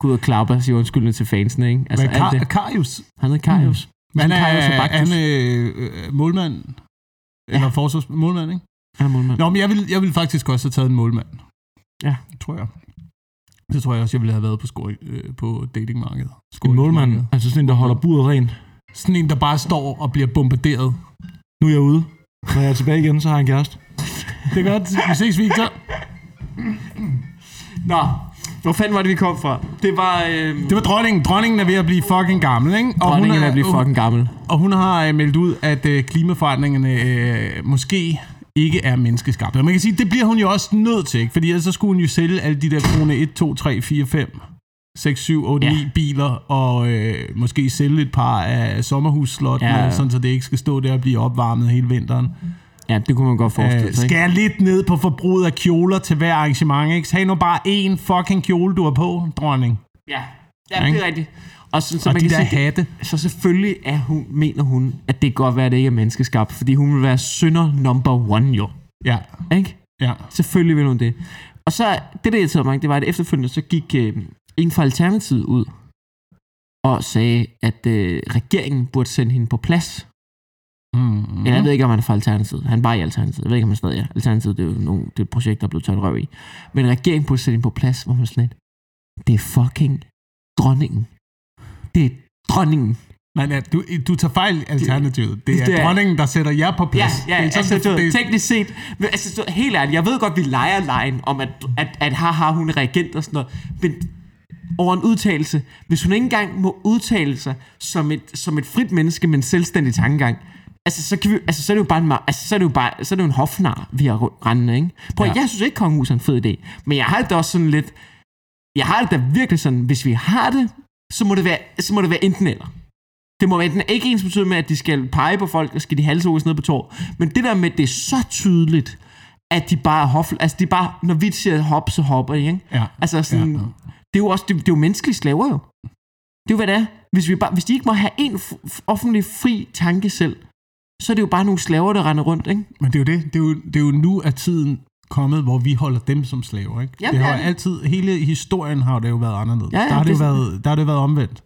[SPEAKER 1] Gå ud og klappe og sige undskyldning til fansene, ikke? Altså,
[SPEAKER 2] Altså,
[SPEAKER 1] alt det.
[SPEAKER 2] Karius.
[SPEAKER 1] Han hedder Karius. Mm.
[SPEAKER 2] Han er,
[SPEAKER 1] Karius og Baktus.
[SPEAKER 2] han er øh, øh, målmand. Eller forsvars målmand, ikke?
[SPEAKER 1] Han er målmand.
[SPEAKER 2] Nå, men jeg ville, jeg ville faktisk også have taget en målmand.
[SPEAKER 1] Ja.
[SPEAKER 2] Tror jeg. Det tror jeg også, jeg ville have været på, score, øh, på datingmarkedet.
[SPEAKER 3] En målmand, altså sådan en, der holder budet rent.
[SPEAKER 2] Sådan en, der bare står og bliver bombarderet.
[SPEAKER 3] Nu er jeg ude. Når jeg er tilbage igen, så har jeg en kæreste.
[SPEAKER 2] Det er godt. Vi ses, Victor.
[SPEAKER 1] Nå, hvor fanden var det, vi kom fra? Det var... Øh,
[SPEAKER 2] Det var dronningen. Dronningen er ved at blive fucking gammel, ikke? Og
[SPEAKER 1] dronningen er
[SPEAKER 2] hun
[SPEAKER 1] ved at blive fucking gammel.
[SPEAKER 2] Og hun har øh, meldt ud, at øh, klimaforandringerne øh, måske ikke er menneskeskabte. Og man kan sige, det bliver hun jo også nødt til, ikke? Fordi ellers så skulle hun jo sælge alle de der kroner 1, 2, 3, 4, 5, 6, 7, 8,
[SPEAKER 1] Ja.
[SPEAKER 2] 9 biler, og øh, måske sælge et par af sommerhusslottene,
[SPEAKER 1] Ja.
[SPEAKER 2] ja. sådan så det ikke skal stå der og blive opvarmet hele vinteren.
[SPEAKER 1] Ja, det kunne man godt forestille
[SPEAKER 2] Øh,
[SPEAKER 1] sig, ikke?
[SPEAKER 2] skære lidt ned på forbruget af kjoler til hver arrangement, ikke? Tag nu bare én fucking kjole, du har på, dronning.
[SPEAKER 1] Ja, ja det
[SPEAKER 2] Ikke?
[SPEAKER 1] er rigtigt. Og så, så
[SPEAKER 2] Og
[SPEAKER 1] man
[SPEAKER 2] de
[SPEAKER 1] kan
[SPEAKER 2] der
[SPEAKER 1] sige,
[SPEAKER 2] hatte.
[SPEAKER 1] så selvfølgelig er hun, mener hun, at det kan godt være, at det ikke er menneskeskabt, fordi hun vil være synder number one, jo.
[SPEAKER 2] Ja,
[SPEAKER 1] Ikke?
[SPEAKER 2] ja.
[SPEAKER 1] Selvfølgelig vil hun det. Og så, det der irriterede mig, det var, at efterfølgende så gik øh, en fra Alternativet ud og sagde, at øh, regeringen burde sende hende på plads.
[SPEAKER 2] Mm-hmm.
[SPEAKER 1] Eller jeg ved ikke, om han er fra Alternativet. Han var i Alternativet. Jeg ved ikke, om han stadig er. Alternativet det er jo nogle, det er et projekt, der er blevet tørt røv i. Men regeringen burde sætte hende på plads, hvor man sådan lidt, det er fucking dronningen. Det er dronningen.
[SPEAKER 2] Nej, nej, du, du tager fejl alternativet. Det er,
[SPEAKER 1] Det
[SPEAKER 2] det
[SPEAKER 1] er-
[SPEAKER 2] er dronningen, der sætter jer på
[SPEAKER 1] Ja,
[SPEAKER 2] plads.
[SPEAKER 1] ja,
[SPEAKER 2] det er
[SPEAKER 1] altså,
[SPEAKER 2] det-
[SPEAKER 1] du, ved,
[SPEAKER 2] det-
[SPEAKER 1] teknisk set, men altså, du, ved, helt ærligt, jeg ved godt, vi leger lejen om, at, at, at haha, hun er regent og sådan noget, men over en udtalelse, hvis hun ikke engang må udtale sig som et, som et frit menneske med en selvstændig tankegang, altså så, kan vi, altså, så er det jo bare en, ma- altså, så er det jo bare, så er det jo en hofnar, vi har ru- rendende, ikke? Prøv, ja.
[SPEAKER 2] Ja.
[SPEAKER 1] jeg synes ikke, kongehus er en fed idé, men jeg har det også sådan lidt, jeg har det da virkelig sådan, hvis vi har det, så må det være, så må det være enten eller. Det må være enten ikke ens betydning med, at de skal pege på folk, og skal de halshugges ned på tår. Men det der med, at det er så tydeligt, at de bare er hof, altså de er bare, når vi siger hop, så hopper de, ikke?
[SPEAKER 2] Ja.
[SPEAKER 1] Altså sådan,
[SPEAKER 2] Ja.
[SPEAKER 1] det er jo også, det, det er jo menneskelige slaver jo. Det er jo, hvad det er. Hvis, vi bare, hvis de ikke må have en f- f- offentlig fri tanke selv, så er det jo bare nogle slaver, der render rundt, ikke?
[SPEAKER 2] Men det er jo det. Det er jo, det er jo nu, at tiden kommet, hvor vi holder dem som slaver. Ikke?
[SPEAKER 1] Jamen,
[SPEAKER 2] det har
[SPEAKER 1] det er
[SPEAKER 2] jo
[SPEAKER 1] det.
[SPEAKER 2] altid, hele historien har det jo været anderledes.
[SPEAKER 1] Ja, ja,
[SPEAKER 2] der, har det jo
[SPEAKER 1] det er
[SPEAKER 2] været, der har det jo været omvendt.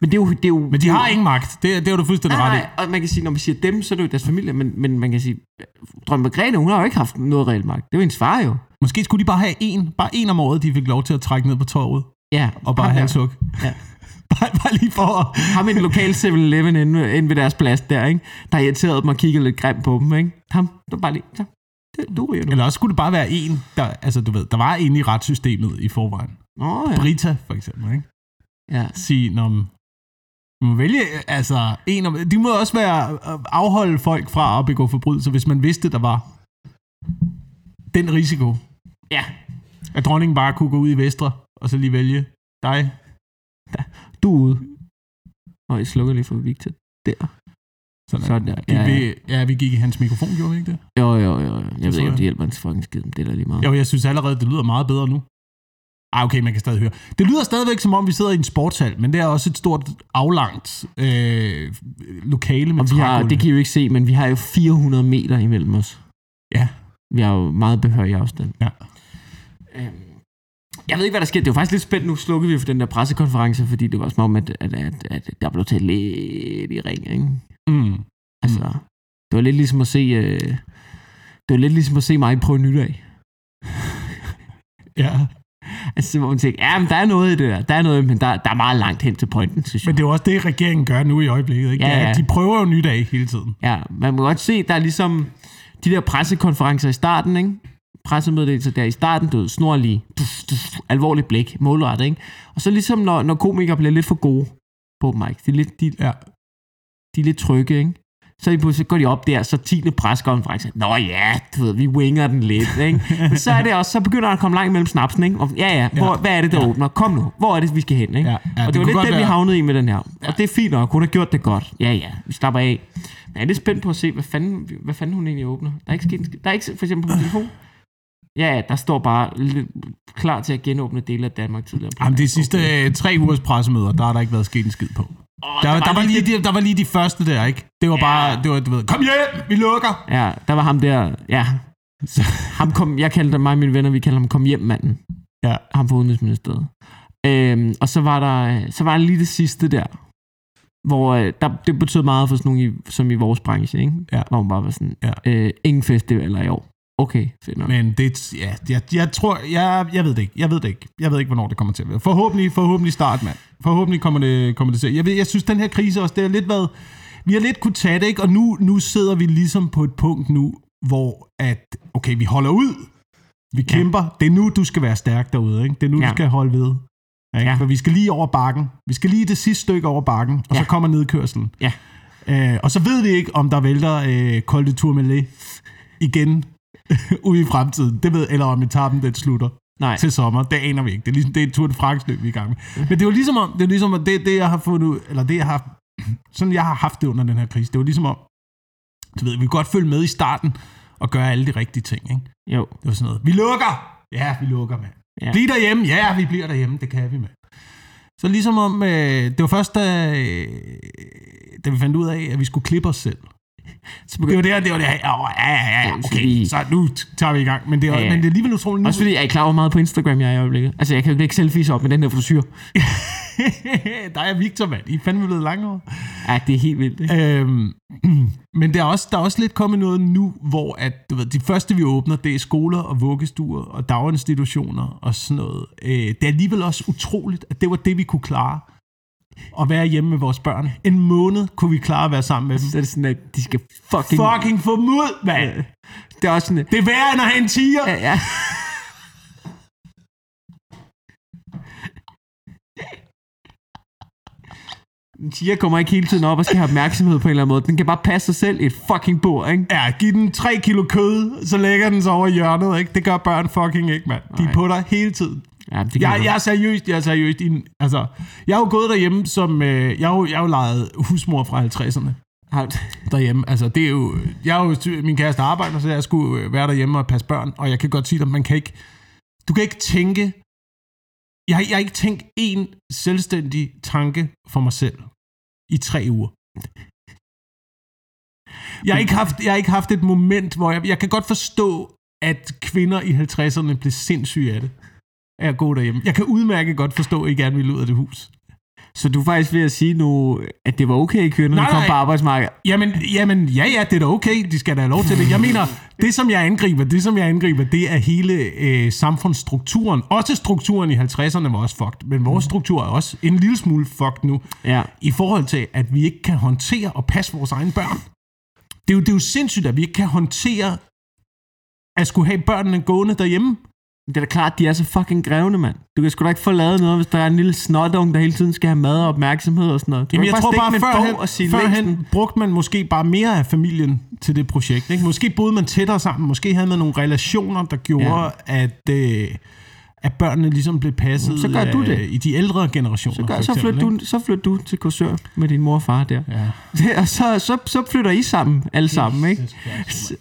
[SPEAKER 1] Men det er jo... Det er jo
[SPEAKER 2] Men de har ingen magt. Det, er- det har du fuldstændig
[SPEAKER 1] Nej,
[SPEAKER 2] ret i.
[SPEAKER 1] nej, og man kan sige, når man siger dem, så er det jo deres familie, men, men man kan sige, Drømme Margrethe, hun har jo ikke haft noget reelt magt. Det er jo hendes far jo.
[SPEAKER 2] Måske skulle de bare have en, bare en om året, de fik lov til at trække ned på torvet
[SPEAKER 1] Ja,
[SPEAKER 2] og bare
[SPEAKER 1] ham der.
[SPEAKER 2] halshug.
[SPEAKER 1] Ja.
[SPEAKER 2] bare, bare lige for at...
[SPEAKER 1] Ham i den lokale 7-Eleven inde, inde ved deres plads der, ikke? Der irriterede dem og kiggede lidt grimt på dem, ikke? Ham, der bare lige, så, Det, du ryger nu.
[SPEAKER 2] Eller også skulle det bare være en, der, altså du ved, der var en i retssystemet i forvejen.
[SPEAKER 1] Nå, ja.
[SPEAKER 2] Brita, for eksempel, ikke?
[SPEAKER 1] ja.
[SPEAKER 2] Sige, når man må vælge, altså, en om, de må også være, øh, afholde folk fra at begå forbrydelser, hvis man vidste, der var den risiko,
[SPEAKER 1] Ja.
[SPEAKER 2] at dronningen bare kunne gå ud i Vestre, og så lige vælge dig.
[SPEAKER 1] Du er ude. Og jeg slukker lige for Victor. Der.
[SPEAKER 2] Sådan.
[SPEAKER 1] Sådan der.
[SPEAKER 2] Gik
[SPEAKER 1] Ja, ja.
[SPEAKER 2] vi, ja, vi gik i hans mikrofon, gjorde vi ikke det?
[SPEAKER 1] Jo, jo, jo. jo. Jeg ved
[SPEAKER 2] tror
[SPEAKER 1] ikke, om
[SPEAKER 2] jeg.
[SPEAKER 1] det hjælper en fucking skid, men det er da lige meget.
[SPEAKER 2] Jo, jeg synes allerede, det lyder meget bedre nu. Ah, okay, man kan stadig høre. Det lyder stadigvæk, som om vi sidder i en sportshal, men det er også et stort, aflangt øh, lokale med
[SPEAKER 1] Og vi har,
[SPEAKER 2] trægulve.
[SPEAKER 1] det kan I jo ikke se, men vi har jo 400 meter imellem os.
[SPEAKER 2] Ja.
[SPEAKER 1] Vi har jo meget behørig afstand.
[SPEAKER 2] Ja.
[SPEAKER 1] Øhm, Jeg ved ikke, hvad der sker. Det var faktisk lidt spændt. Nu slukkede vi for den der pressekonference, fordi det var som om, at, at, at, at der blev talt lidt i ring. Ikke?
[SPEAKER 2] Mm.
[SPEAKER 1] Altså, det var lidt ligesom at se... Øh, det var lidt ligesom at se mig prøve nyt af.
[SPEAKER 2] Ja.
[SPEAKER 1] Altså, hvor man tænkte, ja, men der er noget i det der. Der er noget, men der, der er meget langt hen til pointen, synes jeg.
[SPEAKER 2] Men det er jo også det, regeringen gør nu i øjeblikket. Ikke?
[SPEAKER 1] Ja,
[SPEAKER 2] Det er,
[SPEAKER 1] ja.
[SPEAKER 2] at De prøver jo nyt af hele tiden.
[SPEAKER 1] Ja, man må godt se, der er ligesom de der pressekonferencer i starten, ikke? pressemeddelelser der i starten, du ved, snorlige, dus, dus, alvorligt blik, målrettet, ikke? Og så ligesom, når, når komikere bliver lidt for gode på mic, de er lidt, de,
[SPEAKER 2] Ja.
[SPEAKER 1] de er lidt trygge, ikke? Så, de, så går de op der, så 10. pressekonference. Nå ja, du ved, vi winger den lidt, ikke? Men så er det også, så begynder der at komme langt mellem snapsen, ikke? Og, ja, ja, hvor,
[SPEAKER 2] Ja.
[SPEAKER 1] hvad er det, der
[SPEAKER 2] Ja.
[SPEAKER 1] åbner? Kom nu, hvor er det, vi skal hen, ikke?
[SPEAKER 2] Ja, ja,
[SPEAKER 1] og
[SPEAKER 2] det
[SPEAKER 1] det, var
[SPEAKER 2] kunne
[SPEAKER 1] lidt
[SPEAKER 2] godt
[SPEAKER 1] det, vi
[SPEAKER 2] være-
[SPEAKER 1] havnede i med den her. Og det er fint nok, hun har gjort det godt. Ja, ja, vi slapper af. Men jeg er lidt spændt på at se, hvad fanden, hvad fanden hun egentlig åbner. Der er ikke sket, en skid. der er ikke for eksempel på min telefon. Ja, ja, der står bare lidt klar til at genåbne dele af Danmark tidligere. på
[SPEAKER 2] Jamen, de
[SPEAKER 1] dagen.
[SPEAKER 2] sidste
[SPEAKER 1] Okay.
[SPEAKER 2] øh, tre ugers pressemøder, der har der ikke været sket en skid på.
[SPEAKER 1] Åh,
[SPEAKER 2] Der, der, var lige de, der var lige de første der, ikke? Det var
[SPEAKER 1] Ja.
[SPEAKER 2] bare, det var, du ved, kom hjem, vi lukker.
[SPEAKER 1] Ja, der var ham der, ja.
[SPEAKER 2] Så-
[SPEAKER 1] Ham kom, jeg kaldte mig og mine venner, vi kaldte ham kom hjem manden.
[SPEAKER 2] Ja.
[SPEAKER 1] Ham fra Udenrigsministeriet. Øhm, og så var der så var der lige det sidste der, hvor øh, der, det betød meget for sådan nogle, i, som i vores branche, ikke?
[SPEAKER 2] Ja.
[SPEAKER 1] Hvor man bare var sådan,
[SPEAKER 2] Ja.
[SPEAKER 1] øh, ingen festivaler i år. Okay, fedt nok.
[SPEAKER 2] Men det, ja, jeg, jeg tror, jeg, jeg ved det ikke, jeg ved det ikke. Jeg ved ikke, hvornår det kommer til at være. Forhåbentlig, forhåbentlig start, mand. Forhåbentlig kommer det, kommer det til. Jeg, ved, jeg synes, den her krise også, det har lidt været, vi har lidt kunne tage det, ikke? Og nu, nu sidder vi ligesom på et punkt nu, hvor at, okay, vi holder ud. Vi kæmper. Det er nu, du skal være stærk derude, ikke? Det er nu,
[SPEAKER 1] Ja.
[SPEAKER 2] du skal holde ved. Ikke?
[SPEAKER 1] Ja.
[SPEAKER 2] Ja. For vi skal lige over bakken. Vi skal lige det sidste stykke over bakken, og
[SPEAKER 1] Ja.
[SPEAKER 2] så kommer nedkørselen.
[SPEAKER 1] Ja.
[SPEAKER 2] Øh, og så ved vi ikke, om der vælter øh, Col de Tourmalet igen ude i fremtiden. Det ved, eller om etappen den slutter
[SPEAKER 1] Nej.
[SPEAKER 2] til sommer. Det aner vi ikke. Det er, ligesom, det er et Tour de France løb, vi er i gang med. Men det var ligesom om, det, er ligesom, at det, det jeg har fundet ud, eller det jeg har, sådan jeg har haft det under den her krise, det var ligesom om, du ved, vi kunne godt følge med i starten og gøre alle de rigtige ting, ikke?
[SPEAKER 1] Jo.
[SPEAKER 2] Det var sådan noget, vi lukker! Ja, vi lukker, mand.
[SPEAKER 1] Ja.
[SPEAKER 2] Ja. Bliv derhjemme! Ja, vi bliver derhjemme, det kan vi, mand. Så ligesom om, øh, det var først, da, øh, da vi fandt ud af, at vi skulle klippe os selv.
[SPEAKER 1] Så
[SPEAKER 2] Det
[SPEAKER 1] begyndte,
[SPEAKER 2] var der, det var der. Ja, ja, ja,
[SPEAKER 1] Ja, så
[SPEAKER 2] okay.
[SPEAKER 1] vi-
[SPEAKER 2] Så nu t- tager vi i gang. Men det er,
[SPEAKER 1] Ja, ja.
[SPEAKER 2] men det er alligevel utroligt nu.
[SPEAKER 1] også fordi, jeg er klar over hvor meget på Instagram, jeg er i øjeblikket. Altså, jeg kan jo ikke lægge selfies op med den der frisyr.
[SPEAKER 2] der er Victor, mand. I er fandme blevet langhåret.
[SPEAKER 1] Ja, det er helt vildt, ikke?
[SPEAKER 2] Øhm, men der er, også, der er også lidt kommet noget nu, hvor at, du ved, de første, vi åbner, det er skoler og vuggestuer og daginstitutioner og sådan noget. Øh, det er alligevel også utroligt, at det var det, vi kunne klare. At være hjemme med vores børn. En måned kunne vi klare at være sammen med dem.
[SPEAKER 1] Så er det sådan, at de skal fucking...
[SPEAKER 2] Fucking få mod, mand!
[SPEAKER 1] Det er også sådan, at-
[SPEAKER 2] Det er værre end at have en tiger!
[SPEAKER 1] Ja, ja. En tiger kommer ikke hele tiden op og skal have opmærksomhed på en eller anden måde. Den kan bare passe sig selv i et fucking bord, ikke?
[SPEAKER 2] Ja, giv den 3 kilo kød, så lægger den sig over i hjørnet, ikke? Det gør børn fucking ikke, mand. De
[SPEAKER 1] Nej.
[SPEAKER 2] er på dig hele tiden.
[SPEAKER 1] Ja, det kan
[SPEAKER 2] Jeg, jeg er seriøst, jeg er seriøst. i en- Altså, jeg har jo gået derhjemme som... Øh, jeg har jo, jeg har jo lejet husmor fra 50'erne
[SPEAKER 1] Har-
[SPEAKER 2] derhjemme. Altså, det er jo... Jeg er jo sy- min kæreste arbejder, så jeg skulle øh, være derhjemme og passe børn. Og jeg kan godt sige dig, man kan ikke... Du kan ikke tænke... Jeg, har- jeg har ikke tænkt én selvstændig tanke for mig selv i tre uger. Jeg har ikke haft, jeg har ikke haft et moment, hvor jeg... Jeg kan godt forstå, at kvinder i 50'erne blev sindssyge af det. Af at gå derhjemme. Jeg kan udmærket godt forstå, at I gerne vil ud af det hus.
[SPEAKER 1] Så du er faktisk ved at sige nu, at det var okay, kvinder, der
[SPEAKER 2] Nej,
[SPEAKER 1] kom
[SPEAKER 2] nej.
[SPEAKER 1] på arbejdsmarkedet.
[SPEAKER 2] Jamen, jamen, ja, ja, det er da okay. De skal da have lov til det. Jeg mener, det som jeg angriber, det som jeg angriber, det er hele øh, samfundsstrukturen. Også strukturen i 50'erne var også fucked, men vores struktur er også en lille smule fucked nu.
[SPEAKER 1] Ja.
[SPEAKER 2] I forhold til, at vi ikke kan håndtere og passe vores egne børn. Det er jo, det er jo sindssygt, at vi ikke kan håndtere at skulle have børnene gående derhjemme.
[SPEAKER 1] Det er da klart, de er så fucking grævende, mand. Du kan sgu da ikke få lavet noget, hvis der er en lille snotung, der hele tiden skal have mad og opmærksomhed og sådan noget. Du
[SPEAKER 2] Jamen,
[SPEAKER 1] kan
[SPEAKER 2] jeg
[SPEAKER 1] ikke
[SPEAKER 2] tror
[SPEAKER 1] stikke
[SPEAKER 2] bare,
[SPEAKER 1] med en
[SPEAKER 2] førhen,
[SPEAKER 1] bog og sige, læs den.
[SPEAKER 2] førhen brugte man måske bare mere af familien til det projekt. Ikke? Måske boede man tættere sammen. Måske havde man nogle relationer, der gjorde,
[SPEAKER 1] Ja.
[SPEAKER 2] ja. at, øh, at børnene ligesom blev passet
[SPEAKER 1] Så gør du
[SPEAKER 2] af-
[SPEAKER 1] det.
[SPEAKER 2] i de ældre generationer.
[SPEAKER 1] så, gør,
[SPEAKER 2] for
[SPEAKER 1] så,
[SPEAKER 2] eksempel,
[SPEAKER 1] flytter
[SPEAKER 2] ikke?
[SPEAKER 1] du, så flytter du til Korsør med din mor og far der.
[SPEAKER 2] Ja.
[SPEAKER 1] Ja. og så, så, så flytter I sammen, alle sammen, ikke?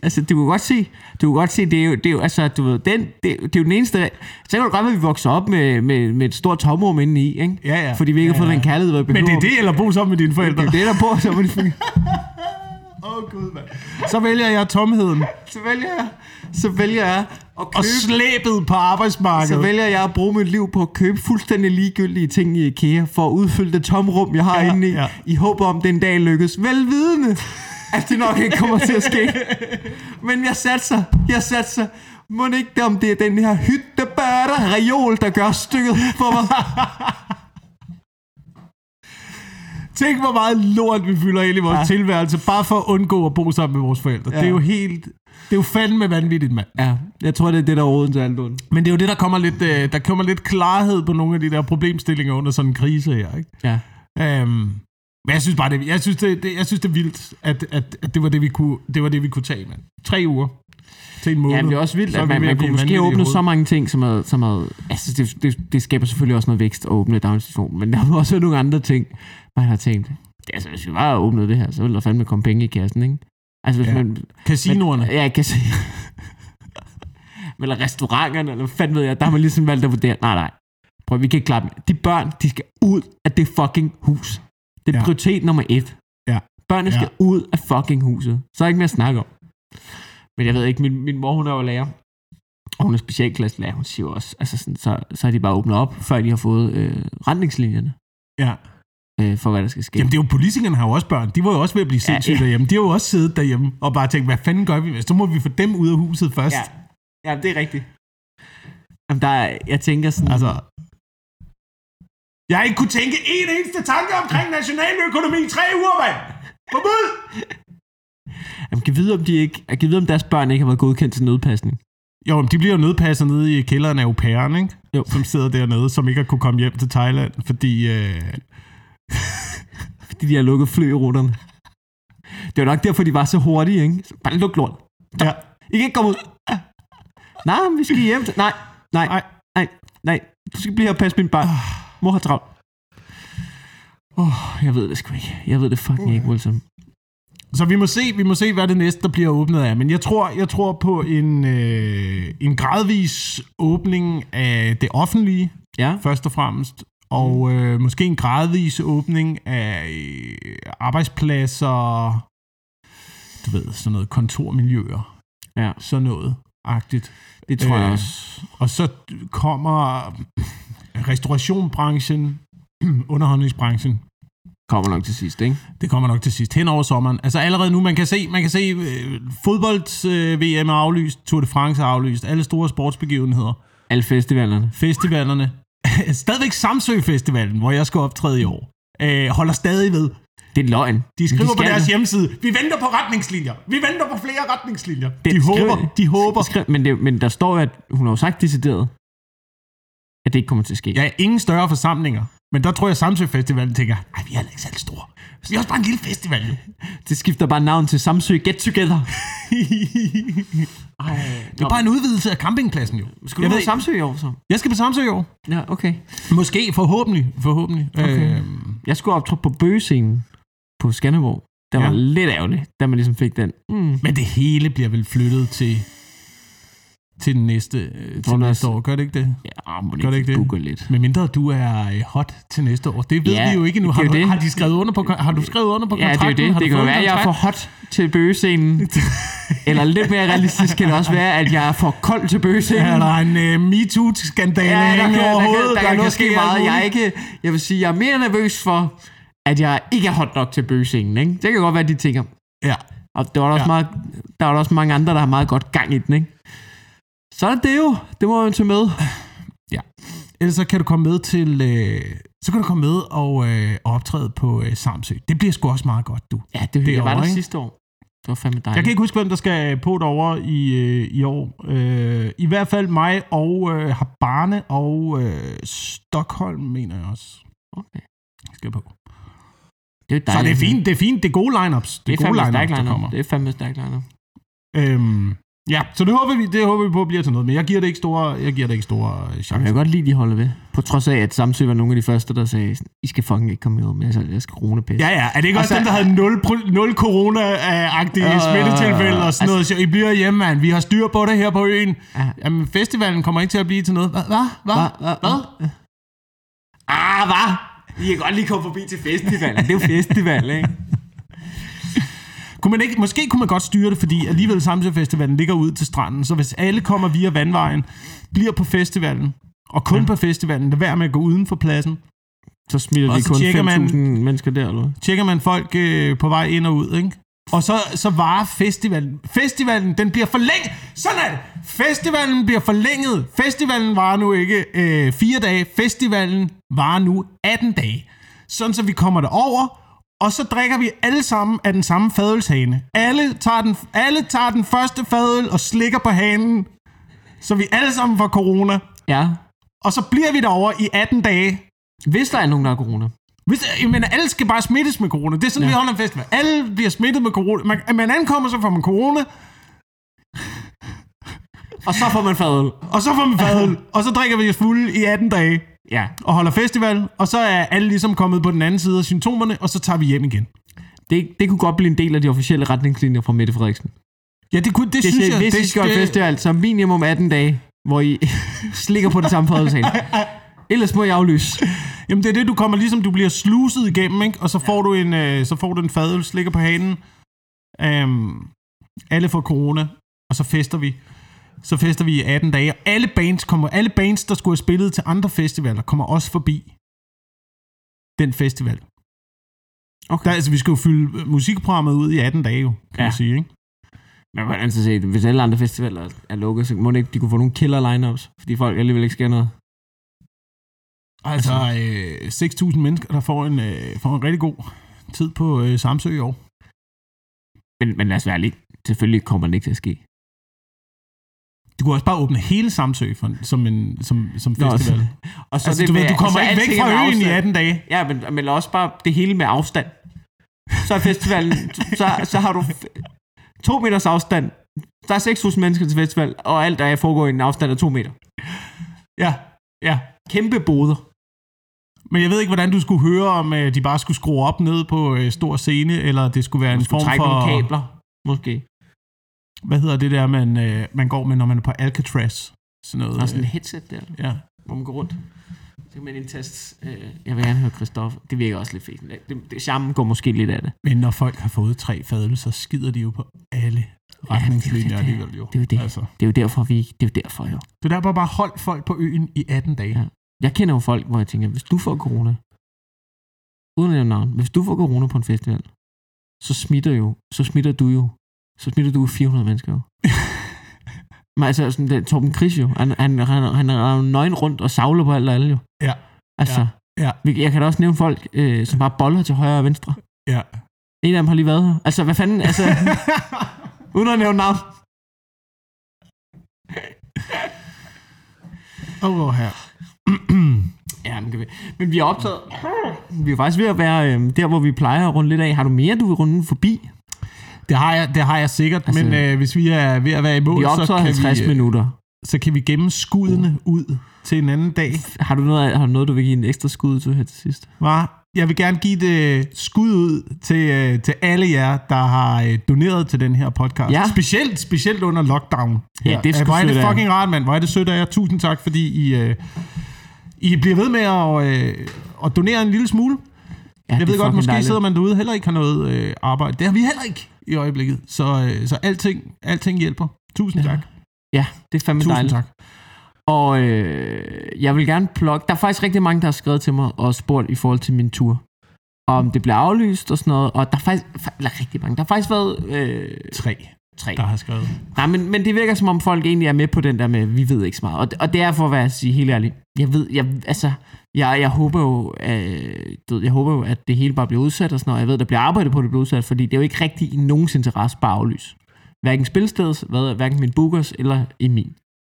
[SPEAKER 1] Altså, du kan godt se, du kan godt se, det er jo, det er jo altså, du ved, den, det, er- det er jo den eneste, så kan du godt være, at vi vokser op med, med, med et stort tomrum indeni, ikke?
[SPEAKER 2] Ja, ja.
[SPEAKER 1] Fordi vi ikke har
[SPEAKER 2] Ja,
[SPEAKER 1] fået
[SPEAKER 2] ja.
[SPEAKER 1] den kærlighed, vi
[SPEAKER 2] Men
[SPEAKER 1] behøver.
[SPEAKER 2] det er det, eller bo sammen med dine forældre.
[SPEAKER 1] det, er det, der bor så med
[SPEAKER 2] Så vælger jeg tomheden
[SPEAKER 1] Så vælger jeg, så vælger jeg at
[SPEAKER 2] og
[SPEAKER 1] købe,
[SPEAKER 2] slæbet på arbejdsmarkedet.
[SPEAKER 1] så Altså, vælger jeg at bruge mit liv på at købe fuldstændig ligegyldige ting i IKEA, for at udfylde det tomrum, jeg har
[SPEAKER 2] Ja,
[SPEAKER 1] ja, inde i, ja.
[SPEAKER 2] ja.
[SPEAKER 1] i håb om, den dag lykkes. Velvidende, at det nok ikke kommer til at ske. Men jeg satser, jeg satser. Må det ikke, om det er den her hyttebørter reol, der gør stykket for mig.
[SPEAKER 2] Tænk, hvor meget lort vi fylder ind i vores ja. tilværelse, bare for at undgå at bo sammen med vores forældre. Ja. Det er jo helt... Det er jo fandme vanvittigt, mand.
[SPEAKER 1] Ja, jeg tror, det er det, der er roden til alt ondt.
[SPEAKER 2] Men det er jo det, der kommer lidt, øh, der kommer lidt klarhed på nogle af de der problemstillinger under sådan en krise her, ikke?
[SPEAKER 1] Ja.
[SPEAKER 2] Øhm, men jeg synes bare, det, jeg synes, det, det, jeg synes, det er vildt, at, at, at det, var det, vi kunne, det var det, vi kunne tage, mand. Tre uger til en måned.
[SPEAKER 1] Ja, men det er også vildt,
[SPEAKER 2] Så er
[SPEAKER 1] at
[SPEAKER 2] vi
[SPEAKER 1] man,
[SPEAKER 2] ved
[SPEAKER 1] man
[SPEAKER 2] at blive
[SPEAKER 1] kunne måske
[SPEAKER 2] vanvittige i
[SPEAKER 1] åbne
[SPEAKER 2] hovedet.
[SPEAKER 1] så mange ting, som er, som er, altså det, det, det skaber selvfølgelig også noget vækst at åbne daginstitutionen, men der har jo også været nogle andre ting, man har tænkt. Det, er altså, hvis vi bare åbnede det her, så ville der fandme komme penge i kassen, ikke? Altså, hvis
[SPEAKER 2] Ja.
[SPEAKER 1] ja. man...
[SPEAKER 2] Casinoerne.
[SPEAKER 1] Ja, jeg kan se... eller restauranterne, eller hvad fanden ved jeg, der har man ligesom valgt at vurdere, nej, nej, prøv, vi kan ikke klare dem. De børn, de skal ud af det fucking hus. Det er
[SPEAKER 2] Ja.
[SPEAKER 1] ja. prioritet nummer et.
[SPEAKER 2] Ja.
[SPEAKER 1] Børnene
[SPEAKER 2] Ja.
[SPEAKER 1] skal ud af fucking huset. Så er ikke mere at snakke om. Men jeg ved ikke, min, min mor, hun er jo lærer. Og hun er specialklasselærer, hun siger jo også, altså sådan, så, så er de bare åbnet op, før de har fået øh, retningslinjerne
[SPEAKER 2] Ja.
[SPEAKER 1] øh, for, hvad der skal ske.
[SPEAKER 2] Jamen, det er jo, politikerne har jo også børn. De var jo også ved at blive
[SPEAKER 1] Ja,
[SPEAKER 2] sindssyge ja,
[SPEAKER 1] ja.
[SPEAKER 2] ja. derhjemme. De har jo også siddet derhjemme og bare tænkt, hvad fanden gør vi? Så må vi få dem ud af huset først.
[SPEAKER 1] ja.
[SPEAKER 2] Ja.
[SPEAKER 1] ja, det er rigtigt. Jamen, der er, jeg tænker sådan,
[SPEAKER 2] Altså, jeg har ikke kunne tænke en eneste tanke omkring nationaløkonomi i tre uger, mand! Forbud!
[SPEAKER 1] Jamen, kan vide, om de ikke, jeg kan vide, om deres børn ikke har været godkendt til nødpasning.
[SPEAKER 2] Jo, men de bliver jo nødpasset nede i kælderen af au pairen, ikke?
[SPEAKER 1] Jo.
[SPEAKER 2] Som sidder dernede, som ikke har kunne komme hjem til Thailand, fordi... Øh...
[SPEAKER 1] Fordi de har lukket flyruterne. Det var nok derfor, de var så hurtige, ikke? Så bare luk lort.
[SPEAKER 2] Ja.
[SPEAKER 1] I kan ikke komme ud. Nej, men vi skal hjem. Til... Nej, nej,
[SPEAKER 2] Nej.
[SPEAKER 1] nej, nej, nej. Du skal blive her og passe min barn. Mor har travlt. Oh, jeg ved det sgu ikke. Jeg ved det fucking ikke, Wilson.
[SPEAKER 2] Så vi må se, vi må se, hvad det næste, der bliver åbnet af. Men jeg tror, jeg tror på en, øh, en gradvis åbning af det offentlige,
[SPEAKER 1] Ja,
[SPEAKER 2] først og fremmest. Og øh, måske en gradvis åbning af øh, arbejdspladser, du ved, sådan noget kontormiljøer,
[SPEAKER 1] Ja.
[SPEAKER 2] sådan noget agtigt.
[SPEAKER 1] det tror øh. jeg også.
[SPEAKER 2] Og så kommer restaurationsbranchen, underholdningsbranchen,
[SPEAKER 1] Kommer nok til sidst, ikke?
[SPEAKER 2] det kommer nok til sidst hen over sommeren. Altså allerede nu, man kan se, man kan se øh, fodbold-VM øh, VM er aflyst, Tour de France er aflyst, alle store sportsbegivenheder,
[SPEAKER 1] Alle festivalerne.
[SPEAKER 2] festivalerne. Stadigvæk Samsø-festivalen, hvor jeg skal optræde i år, øh, holder stadig ved.
[SPEAKER 1] Det er løgn.
[SPEAKER 2] De
[SPEAKER 1] Men
[SPEAKER 2] skriver de på
[SPEAKER 1] skal
[SPEAKER 2] deres
[SPEAKER 1] det.
[SPEAKER 2] hjemmeside, vi venter på retningslinjer, vi venter på flere retningslinjer.
[SPEAKER 1] Det-
[SPEAKER 2] de
[SPEAKER 1] skriv-
[SPEAKER 2] håber, de håber.
[SPEAKER 1] Skriv, men, det, men der står jo, at hun har jo sagt decideret, at det ikke kommer til at ske.
[SPEAKER 2] Ja, ingen større forsamlinger. Men der tror jeg, Samsø-festivalen tænker, nej, vi er heller ikke særlig store. Vi er også bare en lille festival. jo."
[SPEAKER 1] Det skifter bare navn til Samsø Get Together. Ej,
[SPEAKER 2] det er bare en udvidelse af campingpladsen, jo.
[SPEAKER 1] Skulle
[SPEAKER 2] jeg,
[SPEAKER 1] du
[SPEAKER 2] ved
[SPEAKER 1] have
[SPEAKER 2] ikke-
[SPEAKER 1] Samsø i år så?
[SPEAKER 2] jeg skal på Samsø i år.
[SPEAKER 1] Ja, okay.
[SPEAKER 2] Måske, forhåbentlig. forhåbentlig. Okay. Øhm,
[SPEAKER 1] Jeg skulle optræde på bøgescenen på Skanderborg. Det var
[SPEAKER 2] Ja.
[SPEAKER 1] ja. lidt ærgerligt, da man ligesom fik den. Mm.
[SPEAKER 2] men det hele bliver vel flyttet til, til den næste, øh,
[SPEAKER 1] Tror
[SPEAKER 2] til
[SPEAKER 1] du
[SPEAKER 2] næste
[SPEAKER 1] også-
[SPEAKER 2] år. Gør det ikke det?
[SPEAKER 1] Ja, ah, må
[SPEAKER 2] Gør det ikke det?
[SPEAKER 1] booker lidt.
[SPEAKER 2] Men mindre du er øh, hot til næste år. Det ved
[SPEAKER 1] Ja,
[SPEAKER 2] vi jo ikke nu.
[SPEAKER 1] det
[SPEAKER 2] Har,
[SPEAKER 1] er jo
[SPEAKER 2] du,
[SPEAKER 1] det.
[SPEAKER 2] har, de skrevet under på, kon- har du skrevet under på
[SPEAKER 1] Ja, det
[SPEAKER 2] kontrakten?
[SPEAKER 1] er jo det.
[SPEAKER 2] Har
[SPEAKER 1] Det
[SPEAKER 2] du
[SPEAKER 1] kan jo
[SPEAKER 2] fået
[SPEAKER 1] være,
[SPEAKER 2] en
[SPEAKER 1] at jeg er for
[SPEAKER 2] kontrakt?
[SPEAKER 1] hot til bøgescenen. Eller lidt mere realistisk kan det også være, at jeg er for kold til bøgescenen.
[SPEAKER 2] Ja, der er en øh, MeToo-skandale
[SPEAKER 1] Ja, der kan, der, kan,
[SPEAKER 2] overhovedet.
[SPEAKER 1] der, der, kan,
[SPEAKER 2] kan
[SPEAKER 1] noget ske
[SPEAKER 2] alt
[SPEAKER 1] meget.
[SPEAKER 2] muligt.
[SPEAKER 1] Jeg, er ikke, jeg vil sige, jeg er mere nervøs for, at jeg ikke er hot nok til bøgescenen. Ikke? Det kan godt være, at de tænker.
[SPEAKER 2] Ja.
[SPEAKER 1] Og der var der, ja.
[SPEAKER 2] Ja.
[SPEAKER 1] også, meget, der var der også mange andre, der har meget godt gang i den. Ikke? Så er det det jo. Det må man tage med.
[SPEAKER 2] Ellers så kan du komme med til... Øh, så kan du komme med og øh, og optræde på øh, Samsø. Det bliver sgu også meget godt, du.
[SPEAKER 1] Ja, det, det
[SPEAKER 2] er
[SPEAKER 1] jeg var
[SPEAKER 2] over,
[SPEAKER 1] der
[SPEAKER 2] ikke?
[SPEAKER 1] sidste år. Det var fandme dejligt.
[SPEAKER 2] Jeg kan ikke huske, hvem der skal på derovre i, øh, i år. Øh, I hvert fald mig og øh, Habane og øh, Stockholm, mener jeg også,
[SPEAKER 1] Okay.
[SPEAKER 2] skal på.
[SPEAKER 1] Det er jo
[SPEAKER 2] Så det
[SPEAKER 1] dejligt.
[SPEAKER 2] er fint, det er fint. Det er gode lineups. Det
[SPEAKER 1] Det
[SPEAKER 2] er,
[SPEAKER 1] er fandme
[SPEAKER 2] gode
[SPEAKER 1] stærk
[SPEAKER 2] lineups, der
[SPEAKER 1] lineup.
[SPEAKER 2] kommer.
[SPEAKER 1] Det er fandme stærk lineup.
[SPEAKER 2] Øhm, ja, så det håber, vi, det håber vi på bliver til noget. Men jeg giver det ikke store, jeg giver det ikke store øh,
[SPEAKER 1] Jamen, jeg
[SPEAKER 2] chancer.
[SPEAKER 1] kan godt lide, de holder ved. På trods af, at Samsø var nogle af de første, der sagde, sådan, I skal fucking ikke komme ud med jeres altså, coronapest.
[SPEAKER 2] Ja, ja. Er det ikke
[SPEAKER 1] Og
[SPEAKER 2] også
[SPEAKER 1] så-
[SPEAKER 2] dem, der havde 0, pro- 0 corona-agtige
[SPEAKER 1] Øh,
[SPEAKER 2] øh, smittetilfælde og sådan
[SPEAKER 1] altså-
[SPEAKER 2] noget? Så I bliver hjemme, mand. Vi har styr på det her på øen.
[SPEAKER 1] Ja.
[SPEAKER 2] Jamen, festivalen kommer ikke til at blive til noget. Hvad? Hvad? Hvad?
[SPEAKER 1] Hva? Hvad? Ah, hvad? I kan godt lige komme forbi til festivalen. Det er jo festival, ikke?
[SPEAKER 2] Kunne man ikke, måske kunne man godt styre det, fordi alligevel Samsø-festivalen ligger ud til stranden, så hvis alle kommer via vandvejen, bliver på festivalen, og kun ja. på festivalen, der være med at gå uden for pladsen,
[SPEAKER 1] Så smitter
[SPEAKER 2] Og
[SPEAKER 1] de
[SPEAKER 2] så
[SPEAKER 1] kun
[SPEAKER 2] tjekker man-
[SPEAKER 1] 5.000 mennesker der, eller hvad?
[SPEAKER 2] tjekker man folk øh, på vej ind og ud, ikke? Og så, så varer festivalen. Festivalen, den bliver forlænget. Sådan er det. Festivalen bliver forlænget. Festivalen varer nu ikke øh, fire dage. Festivalen varer nu 18 dage. Sådan så vi kommer derover, og så drikker vi alle sammen af den samme fadølshane. Alle tager den, alle tager den første fadøl og slikker på hanen, så vi alle sammen får corona.
[SPEAKER 1] Ja.
[SPEAKER 2] Og så bliver vi derover i 18 dage.
[SPEAKER 1] Hvis der er nogen, der har corona.
[SPEAKER 2] Hvis, jeg mener, alle skal bare smittes med corona. Det er sådan, ja. vi holder en festival. Alle bliver smittet med corona. Man, man ankommer, så får man corona,
[SPEAKER 1] Og så får man fadøl.
[SPEAKER 2] og så får man fadøl, og så drikker vi os fulde i 18 dage
[SPEAKER 1] Ja.
[SPEAKER 2] og holder festival, og så er alle ligesom kommet på den anden side af symptomerne, og så tager vi hjem igen.
[SPEAKER 1] Det, det kunne godt blive en del af de officielle retningslinjer fra Mette Frederiksen.
[SPEAKER 2] Ja, det, kunne, det,
[SPEAKER 1] Det
[SPEAKER 2] synes
[SPEAKER 1] siger,
[SPEAKER 2] jeg...
[SPEAKER 1] hvis I skal holde festival, så minimum 18 dage, hvor I slikker på det samme fadølshane. Ellers må jeg aflyse.
[SPEAKER 2] Jamen, det er det, du kommer ligesom, du bliver sluset igennem, ikke? Og så får du en, øh, så får du en fadøl, slikker på hanen. Øhm, alle får corona, og så fester vi. Så fester vi i 18 dage, og alle bands, kommer, alle bands, der skulle have spillet til andre festivaler, kommer også forbi den festival.
[SPEAKER 1] Okay.
[SPEAKER 2] Der, altså, vi skal jo fylde øh, musikprogrammet ud i 18 dage, jo, kan ja.
[SPEAKER 1] Ja.
[SPEAKER 2] man sige, ikke?
[SPEAKER 1] Men hvordan så set, hvis alle andre festivaler er lukket, så må det ikke, de kunne få nogle killer lineups, fordi folk alligevel ikke skal noget.
[SPEAKER 2] Altså, øh, 6.000 mennesker, der får en, øh, får en rigtig god tid på øh, Samsø i år.
[SPEAKER 1] Men, men lad os være ærlige. Selvfølgelig kommer det ikke til at ske.
[SPEAKER 2] Du kunne også bare åbne hele Samsø for, som, en, som, som
[SPEAKER 1] Nå,
[SPEAKER 2] festival.
[SPEAKER 1] altså- Og
[SPEAKER 2] Så altså, det, du, ved,
[SPEAKER 1] med-
[SPEAKER 2] du kommer
[SPEAKER 1] altså,
[SPEAKER 2] altså, ikke væk
[SPEAKER 1] alting er
[SPEAKER 2] fra
[SPEAKER 1] med
[SPEAKER 2] øen i
[SPEAKER 1] afstand.
[SPEAKER 2] 18 dage.
[SPEAKER 1] Ja, men, men også bare det hele med afstand. Så er festivalen, så, så har du f- to meters afstand. Der er 6.000 mennesker til festival, og alt der foregår i en afstand af to meter.
[SPEAKER 2] Ja, ja.
[SPEAKER 1] Kæmpe boder.
[SPEAKER 2] Men jeg ved ikke, hvordan du skulle høre, om øh, de bare skulle skrue op ned på øh, stor scene, eller det skulle være en
[SPEAKER 1] Man skulle
[SPEAKER 2] form
[SPEAKER 1] trække
[SPEAKER 2] for...
[SPEAKER 1] nogle kabler, måske.
[SPEAKER 2] Hvad hedder det der, man, øh, man går med, når man er på Alcatraz? Sådan noget.
[SPEAKER 1] Der er sådan
[SPEAKER 2] øh,
[SPEAKER 1] et headset der,
[SPEAKER 2] ja.
[SPEAKER 1] hvor man går rundt. Så kan man indtaste, øh, jeg vil gerne høre Christoffer. Det virker også lidt fedt. Det, det, charmen går måske lidt af det.
[SPEAKER 2] Men når folk har fået tre fadøl, så skider de jo på alle retningslinjer
[SPEAKER 1] det er-
[SPEAKER 2] alligevel jo.
[SPEAKER 1] det er jo det.
[SPEAKER 2] Altså.
[SPEAKER 1] Det er jo derfor, vi... Det er jo derfor, jo.
[SPEAKER 2] Så derfor bare hold folk på øen i 18 dage.
[SPEAKER 1] Ja. Jeg kender jo folk, hvor jeg tænker, hvis du får corona, uden at nævne navn, hvis du får corona på en festival, så smitter, jo, så smitter du jo, så smitter du jo 400 mennesker jo. Men altså, sådan der, Torben Chris jo, han, han, han, han er jo nøgen rundt og savler på alt og alle jo.
[SPEAKER 2] Ja.
[SPEAKER 1] Altså,
[SPEAKER 2] Ja.
[SPEAKER 1] vi- jeg kan da også nævne folk, øh, som bare boller til højre og venstre.
[SPEAKER 2] Ja.
[SPEAKER 1] En af dem har lige været her. Altså, hvad fanden, altså, uden at nævne navn.
[SPEAKER 2] Åh, oh, her.
[SPEAKER 1] Ja, men, kan vi. men vi er optaget. Vi er faktisk ved at være øh, der, hvor vi plejer at runde lidt af. Har du mere, du vil runde forbi?
[SPEAKER 2] Det har jeg, det har jeg sikkert, altså,
[SPEAKER 1] Altså,
[SPEAKER 2] men øh, hvis vi er ved at være i mål,
[SPEAKER 1] Vi er
[SPEAKER 2] så
[SPEAKER 1] optaget Mm.
[SPEAKER 2] kan
[SPEAKER 1] 50
[SPEAKER 2] vi, øh,
[SPEAKER 1] minutter.
[SPEAKER 2] så kan vi gemme skuddene ud til en anden dag.
[SPEAKER 1] Har du noget, har du, noget du vil give en ekstra skud til her til sidst?
[SPEAKER 2] Var. Jeg vil gerne give det skud ud til, øh, til alle jer, der har øh, doneret til den her podcast.
[SPEAKER 1] Ja.
[SPEAKER 2] Specielt, specielt under lockdown.
[SPEAKER 1] Ja, det er sgu
[SPEAKER 2] Øh, Hvor er det
[SPEAKER 1] sødt af jer.
[SPEAKER 2] fucking rart, mand. Hvor er det sødt af jer. Tusind tak, fordi I, øh, I bliver ved med at, øh, at donere en lille smule.
[SPEAKER 1] Ja,
[SPEAKER 2] Jeg
[SPEAKER 1] det
[SPEAKER 2] ved
[SPEAKER 1] er
[SPEAKER 2] godt,
[SPEAKER 1] fucking
[SPEAKER 2] måske
[SPEAKER 1] dejligt.
[SPEAKER 2] sidder man derude heller ikke har noget øh, arbejde. Det har vi heller ikke i øjeblikket. Så, øh, så alting, alting hjælper. Tusind ja. tak.
[SPEAKER 1] Ja, det er fandme
[SPEAKER 2] Tusind
[SPEAKER 1] dejligt.
[SPEAKER 2] tak.
[SPEAKER 1] Og øh, jeg vil gerne plukke... Der er faktisk rigtig mange, der har skrevet til mig og spurgt i forhold til min tur. Om det bliver aflyst og sådan noget. Og der er faktisk... fa- Eller rigtig mange. Der har faktisk været... Øh,
[SPEAKER 2] Tre.
[SPEAKER 1] tre.
[SPEAKER 2] der har skrevet.
[SPEAKER 1] Nej, men, men det virker som om folk egentlig er med på den der med, vi ved ikke så meget. Og, og det er for at være at sige helt ærligt. Jeg ved, jeg, altså, jeg, jeg håber jo, øh, du ved, jeg håber jo, at det hele bare bliver udsat og sådan noget. Jeg ved, der bliver arbejdet på, at det bliver udsat, fordi det er jo ikke rigtig i nogens interesse bare at aflyse. Hverken spilstedets, hvad, hverken min bookers eller i min.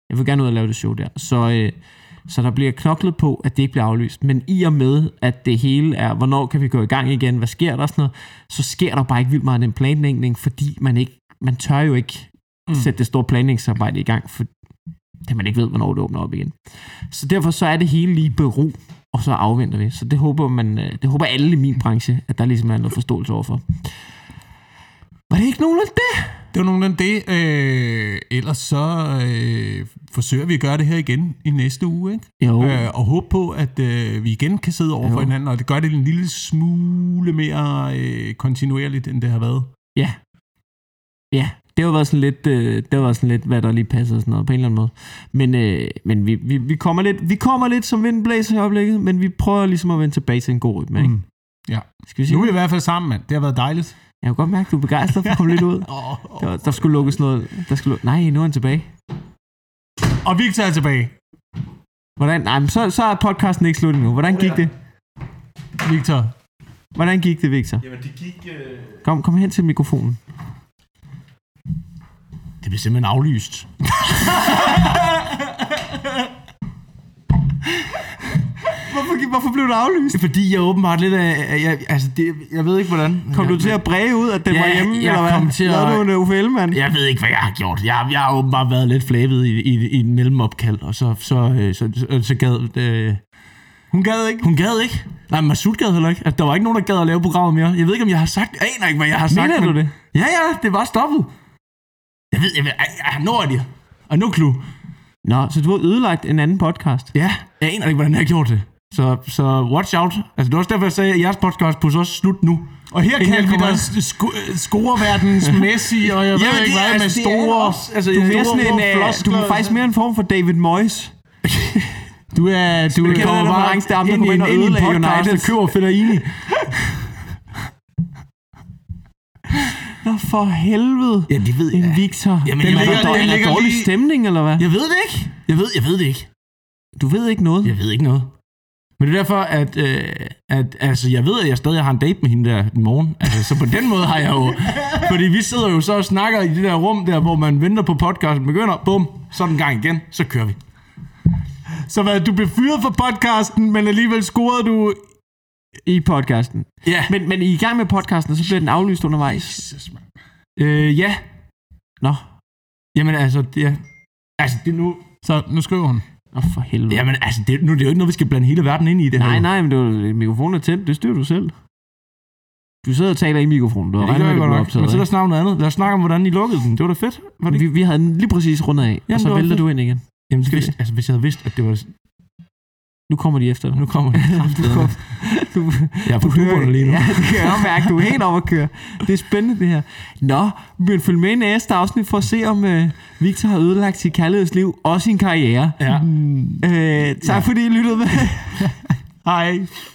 [SPEAKER 1] Jeg vil gerne ud og lave det show der. Så, øh, så der bliver knoklet på, at det ikke bliver aflyst. Men i og med, at det hele er, hvornår kan vi gå i gang igen, hvad sker der og sådan noget, så sker der bare ikke vildt meget af den planlægning, fordi man ikke man tør jo ikke mm. sætte det store planlægningsarbejde i gang, for da man ikke ved, hvornår det åbner op igen. Så derfor så er det hele lige i bero, og så afventer vi. Så det håber, man, øh, det håber alle i min branche, at der ligesom er noget forståelse overfor. Var det ikke nogen af det?
[SPEAKER 2] Det var nogenlunde det. Øh, ellers så øh, forsøger vi at gøre det her igen i næste uge, ikke?
[SPEAKER 1] Jo.
[SPEAKER 2] Øh, og håbe på, at øh, vi igen kan sidde over
[SPEAKER 1] Jo.
[SPEAKER 2] for hinanden, og det gør det en lille smule mere øh, kontinuerligt, end det har været.
[SPEAKER 1] Ja. Ja, det har været sådan lidt, øh, det har været sådan lidt hvad der lige passer og sådan noget, på en eller anden måde. Men, øh, men vi, vi, vi, kommer lidt, vi kommer lidt som vindblæser i øjeblikket, men vi prøver ligesom at vende tilbage til en god rytme, ikke?
[SPEAKER 2] Mm. Ja.
[SPEAKER 1] Skal vi sige?
[SPEAKER 2] Nu er vi i hvert fald sammen, mand. Det har været dejligt.
[SPEAKER 1] Jeg kan godt mærke, at du er begejstret for at komme lidt ud.
[SPEAKER 2] Og,
[SPEAKER 1] Der, var- der skulle lukkes noget. Der skulle, lu- nej, nu er han tilbage.
[SPEAKER 2] og Victor er tilbage.
[SPEAKER 1] Hvordan, nej, men så, så er podcasten ikke slut endnu. Hvordan gik det?
[SPEAKER 2] Victor,
[SPEAKER 1] Hvordan gik det, Victor?
[SPEAKER 3] Jamen, det gik... Øh...
[SPEAKER 1] Kom, kom hen til mikrofonen.
[SPEAKER 2] det blev simpelthen aflyst.
[SPEAKER 1] Hvorfor, hvorfor blev du aflyst?
[SPEAKER 3] Fordi jeg åbenbart lidt af... Jeg, altså, det, jeg ved ikke, hvordan...
[SPEAKER 1] Kom
[SPEAKER 3] jeg,
[SPEAKER 1] du til at bræge ud, at den
[SPEAKER 3] Ja,
[SPEAKER 1] var hjemme,
[SPEAKER 3] jeg
[SPEAKER 1] eller hvad?
[SPEAKER 3] kom til at-
[SPEAKER 1] Lavede du en øh, Uffe Ellemann?
[SPEAKER 3] Jeg ved ikke, hvad jeg har gjort. Jeg, jeg har åbenbart været lidt flæbet i, i, i en mellemopkald, og så, så, øh, så, så, så gad... Øh,
[SPEAKER 2] Hun gad ikke.
[SPEAKER 3] hun gad ikke. Nej, men Masud gad heller ikke. Altså, der var ikke nogen, der gad at lave programmet mere. Jeg ved ikke, om jeg har sagt... Jeg aner ikke, hvad jeg har sagt.
[SPEAKER 1] Mener
[SPEAKER 3] men-
[SPEAKER 1] du det?
[SPEAKER 3] Ja, ja, det var stoppet. Jeg ved, jeg ved... Ej, ej, nu er det. Og nu klu.
[SPEAKER 1] Nå, så du har ødelagt en anden podcast.
[SPEAKER 3] Ja, jeg aner ikke, hvordan jeg har gjort det. Så, så watch out. Altså, det var også derfor, jeg sagde, at jeres podcast på så slut nu.
[SPEAKER 2] Og her
[SPEAKER 3] Inden
[SPEAKER 2] kan
[SPEAKER 3] jeg
[SPEAKER 2] vi
[SPEAKER 3] kommer
[SPEAKER 2] da
[SPEAKER 3] ind.
[SPEAKER 2] sko- scoreverdens Messi, og jeg ved
[SPEAKER 3] Jamen,
[SPEAKER 2] ikke
[SPEAKER 3] det-
[SPEAKER 2] hvad, med
[SPEAKER 3] altså, det er
[SPEAKER 2] store...
[SPEAKER 3] også- altså,
[SPEAKER 2] du,
[SPEAKER 1] Du
[SPEAKER 2] er
[SPEAKER 1] er,
[SPEAKER 3] jeg-
[SPEAKER 1] mere
[SPEAKER 2] store
[SPEAKER 1] sådan en, øh,
[SPEAKER 2] floskler.
[SPEAKER 1] du er faktisk mere en form for David Moyes.
[SPEAKER 2] Du er, du
[SPEAKER 1] Spiller
[SPEAKER 2] kommer
[SPEAKER 1] kender den
[SPEAKER 2] bare
[SPEAKER 1] reference, der er ham, der
[SPEAKER 2] ind, i
[SPEAKER 1] kommer
[SPEAKER 2] en,
[SPEAKER 1] ind og
[SPEAKER 2] ind i en
[SPEAKER 1] ødelagde
[SPEAKER 2] podcast
[SPEAKER 1] United.
[SPEAKER 2] og køber Fellaini.
[SPEAKER 1] Nå, for helvede.
[SPEAKER 3] Ja, det ved
[SPEAKER 1] En Victor.
[SPEAKER 3] Jamen,
[SPEAKER 1] den
[SPEAKER 3] jeg-
[SPEAKER 1] ligger,
[SPEAKER 2] den
[SPEAKER 1] der, er
[SPEAKER 2] ligger
[SPEAKER 1] der dårlig
[SPEAKER 2] lige-
[SPEAKER 1] stemning, eller hvad?
[SPEAKER 3] Jeg ved det ikke. Jeg ved, jeg ved det ikke.
[SPEAKER 1] Du ved ikke noget.
[SPEAKER 3] Jeg ved ikke noget. Men det er derfor, at, øh, at altså, jeg ved, at jeg stadig har en date med hende der i morgen. Altså, så på den måde har jeg jo... Fordi vi sidder jo så og snakker i det der rum der, hvor man venter på podcasten begynder. Bum, så er den gang igen. Så kører vi.
[SPEAKER 2] Så hvad, du blev fyret for podcasten, men alligevel scorede du...
[SPEAKER 1] I podcasten.
[SPEAKER 3] Ja.
[SPEAKER 1] Men, men I er i gang med podcasten, og så bliver den aflyst undervejs.
[SPEAKER 2] Jesus, man.
[SPEAKER 3] Øh, ja.
[SPEAKER 1] Nå,
[SPEAKER 3] Jamen altså, ja. Altså, det er nu...
[SPEAKER 2] Så nu skriver hun.
[SPEAKER 1] Nå for helvede.
[SPEAKER 3] Jamen altså, det, nu er det jo ikke noget, vi skal blande hele verden ind i det her.
[SPEAKER 1] Nej,
[SPEAKER 3] jo.
[SPEAKER 1] nej, men det var, mikrofonen er tændt, det styrer du selv. Du sidder og taler i mikrofonen, du har
[SPEAKER 3] Ja, det
[SPEAKER 1] regnet
[SPEAKER 3] gør
[SPEAKER 1] med,
[SPEAKER 3] jeg
[SPEAKER 1] at det blev
[SPEAKER 3] godt nok. Men
[SPEAKER 1] optaget.
[SPEAKER 3] så lad
[SPEAKER 1] ikke?
[SPEAKER 3] os snakke om noget andet. Lad os snakke om, hvordan I lukkede den. Det var da fedt. Var det ikke?
[SPEAKER 1] Vi, vi havde den lige præcis rundet af, og
[SPEAKER 3] Jamen, det
[SPEAKER 1] så
[SPEAKER 3] var
[SPEAKER 1] vælter
[SPEAKER 3] fedt.
[SPEAKER 1] du ind igen.
[SPEAKER 3] Jamen,
[SPEAKER 1] Skal vi
[SPEAKER 3] hvis,
[SPEAKER 1] det?
[SPEAKER 3] altså, hvis jeg havde vidst, at det var...
[SPEAKER 1] Nu kommer de efter dig.
[SPEAKER 3] Nu kommer det.
[SPEAKER 1] du, kom, du,
[SPEAKER 3] Jeg er på
[SPEAKER 1] du hører,
[SPEAKER 3] duberne lige nu.
[SPEAKER 1] Ja, det kan jeg godt mærke, du er helt oppe at køre. Det er spændende det her. Nå, men følg med i næste afsnit for at se, om øh, Victor har ødelagt sit kærlighedsliv og sin karriere.
[SPEAKER 3] Ja.
[SPEAKER 1] Øh, tak fordi I lyttede med.
[SPEAKER 2] Hej.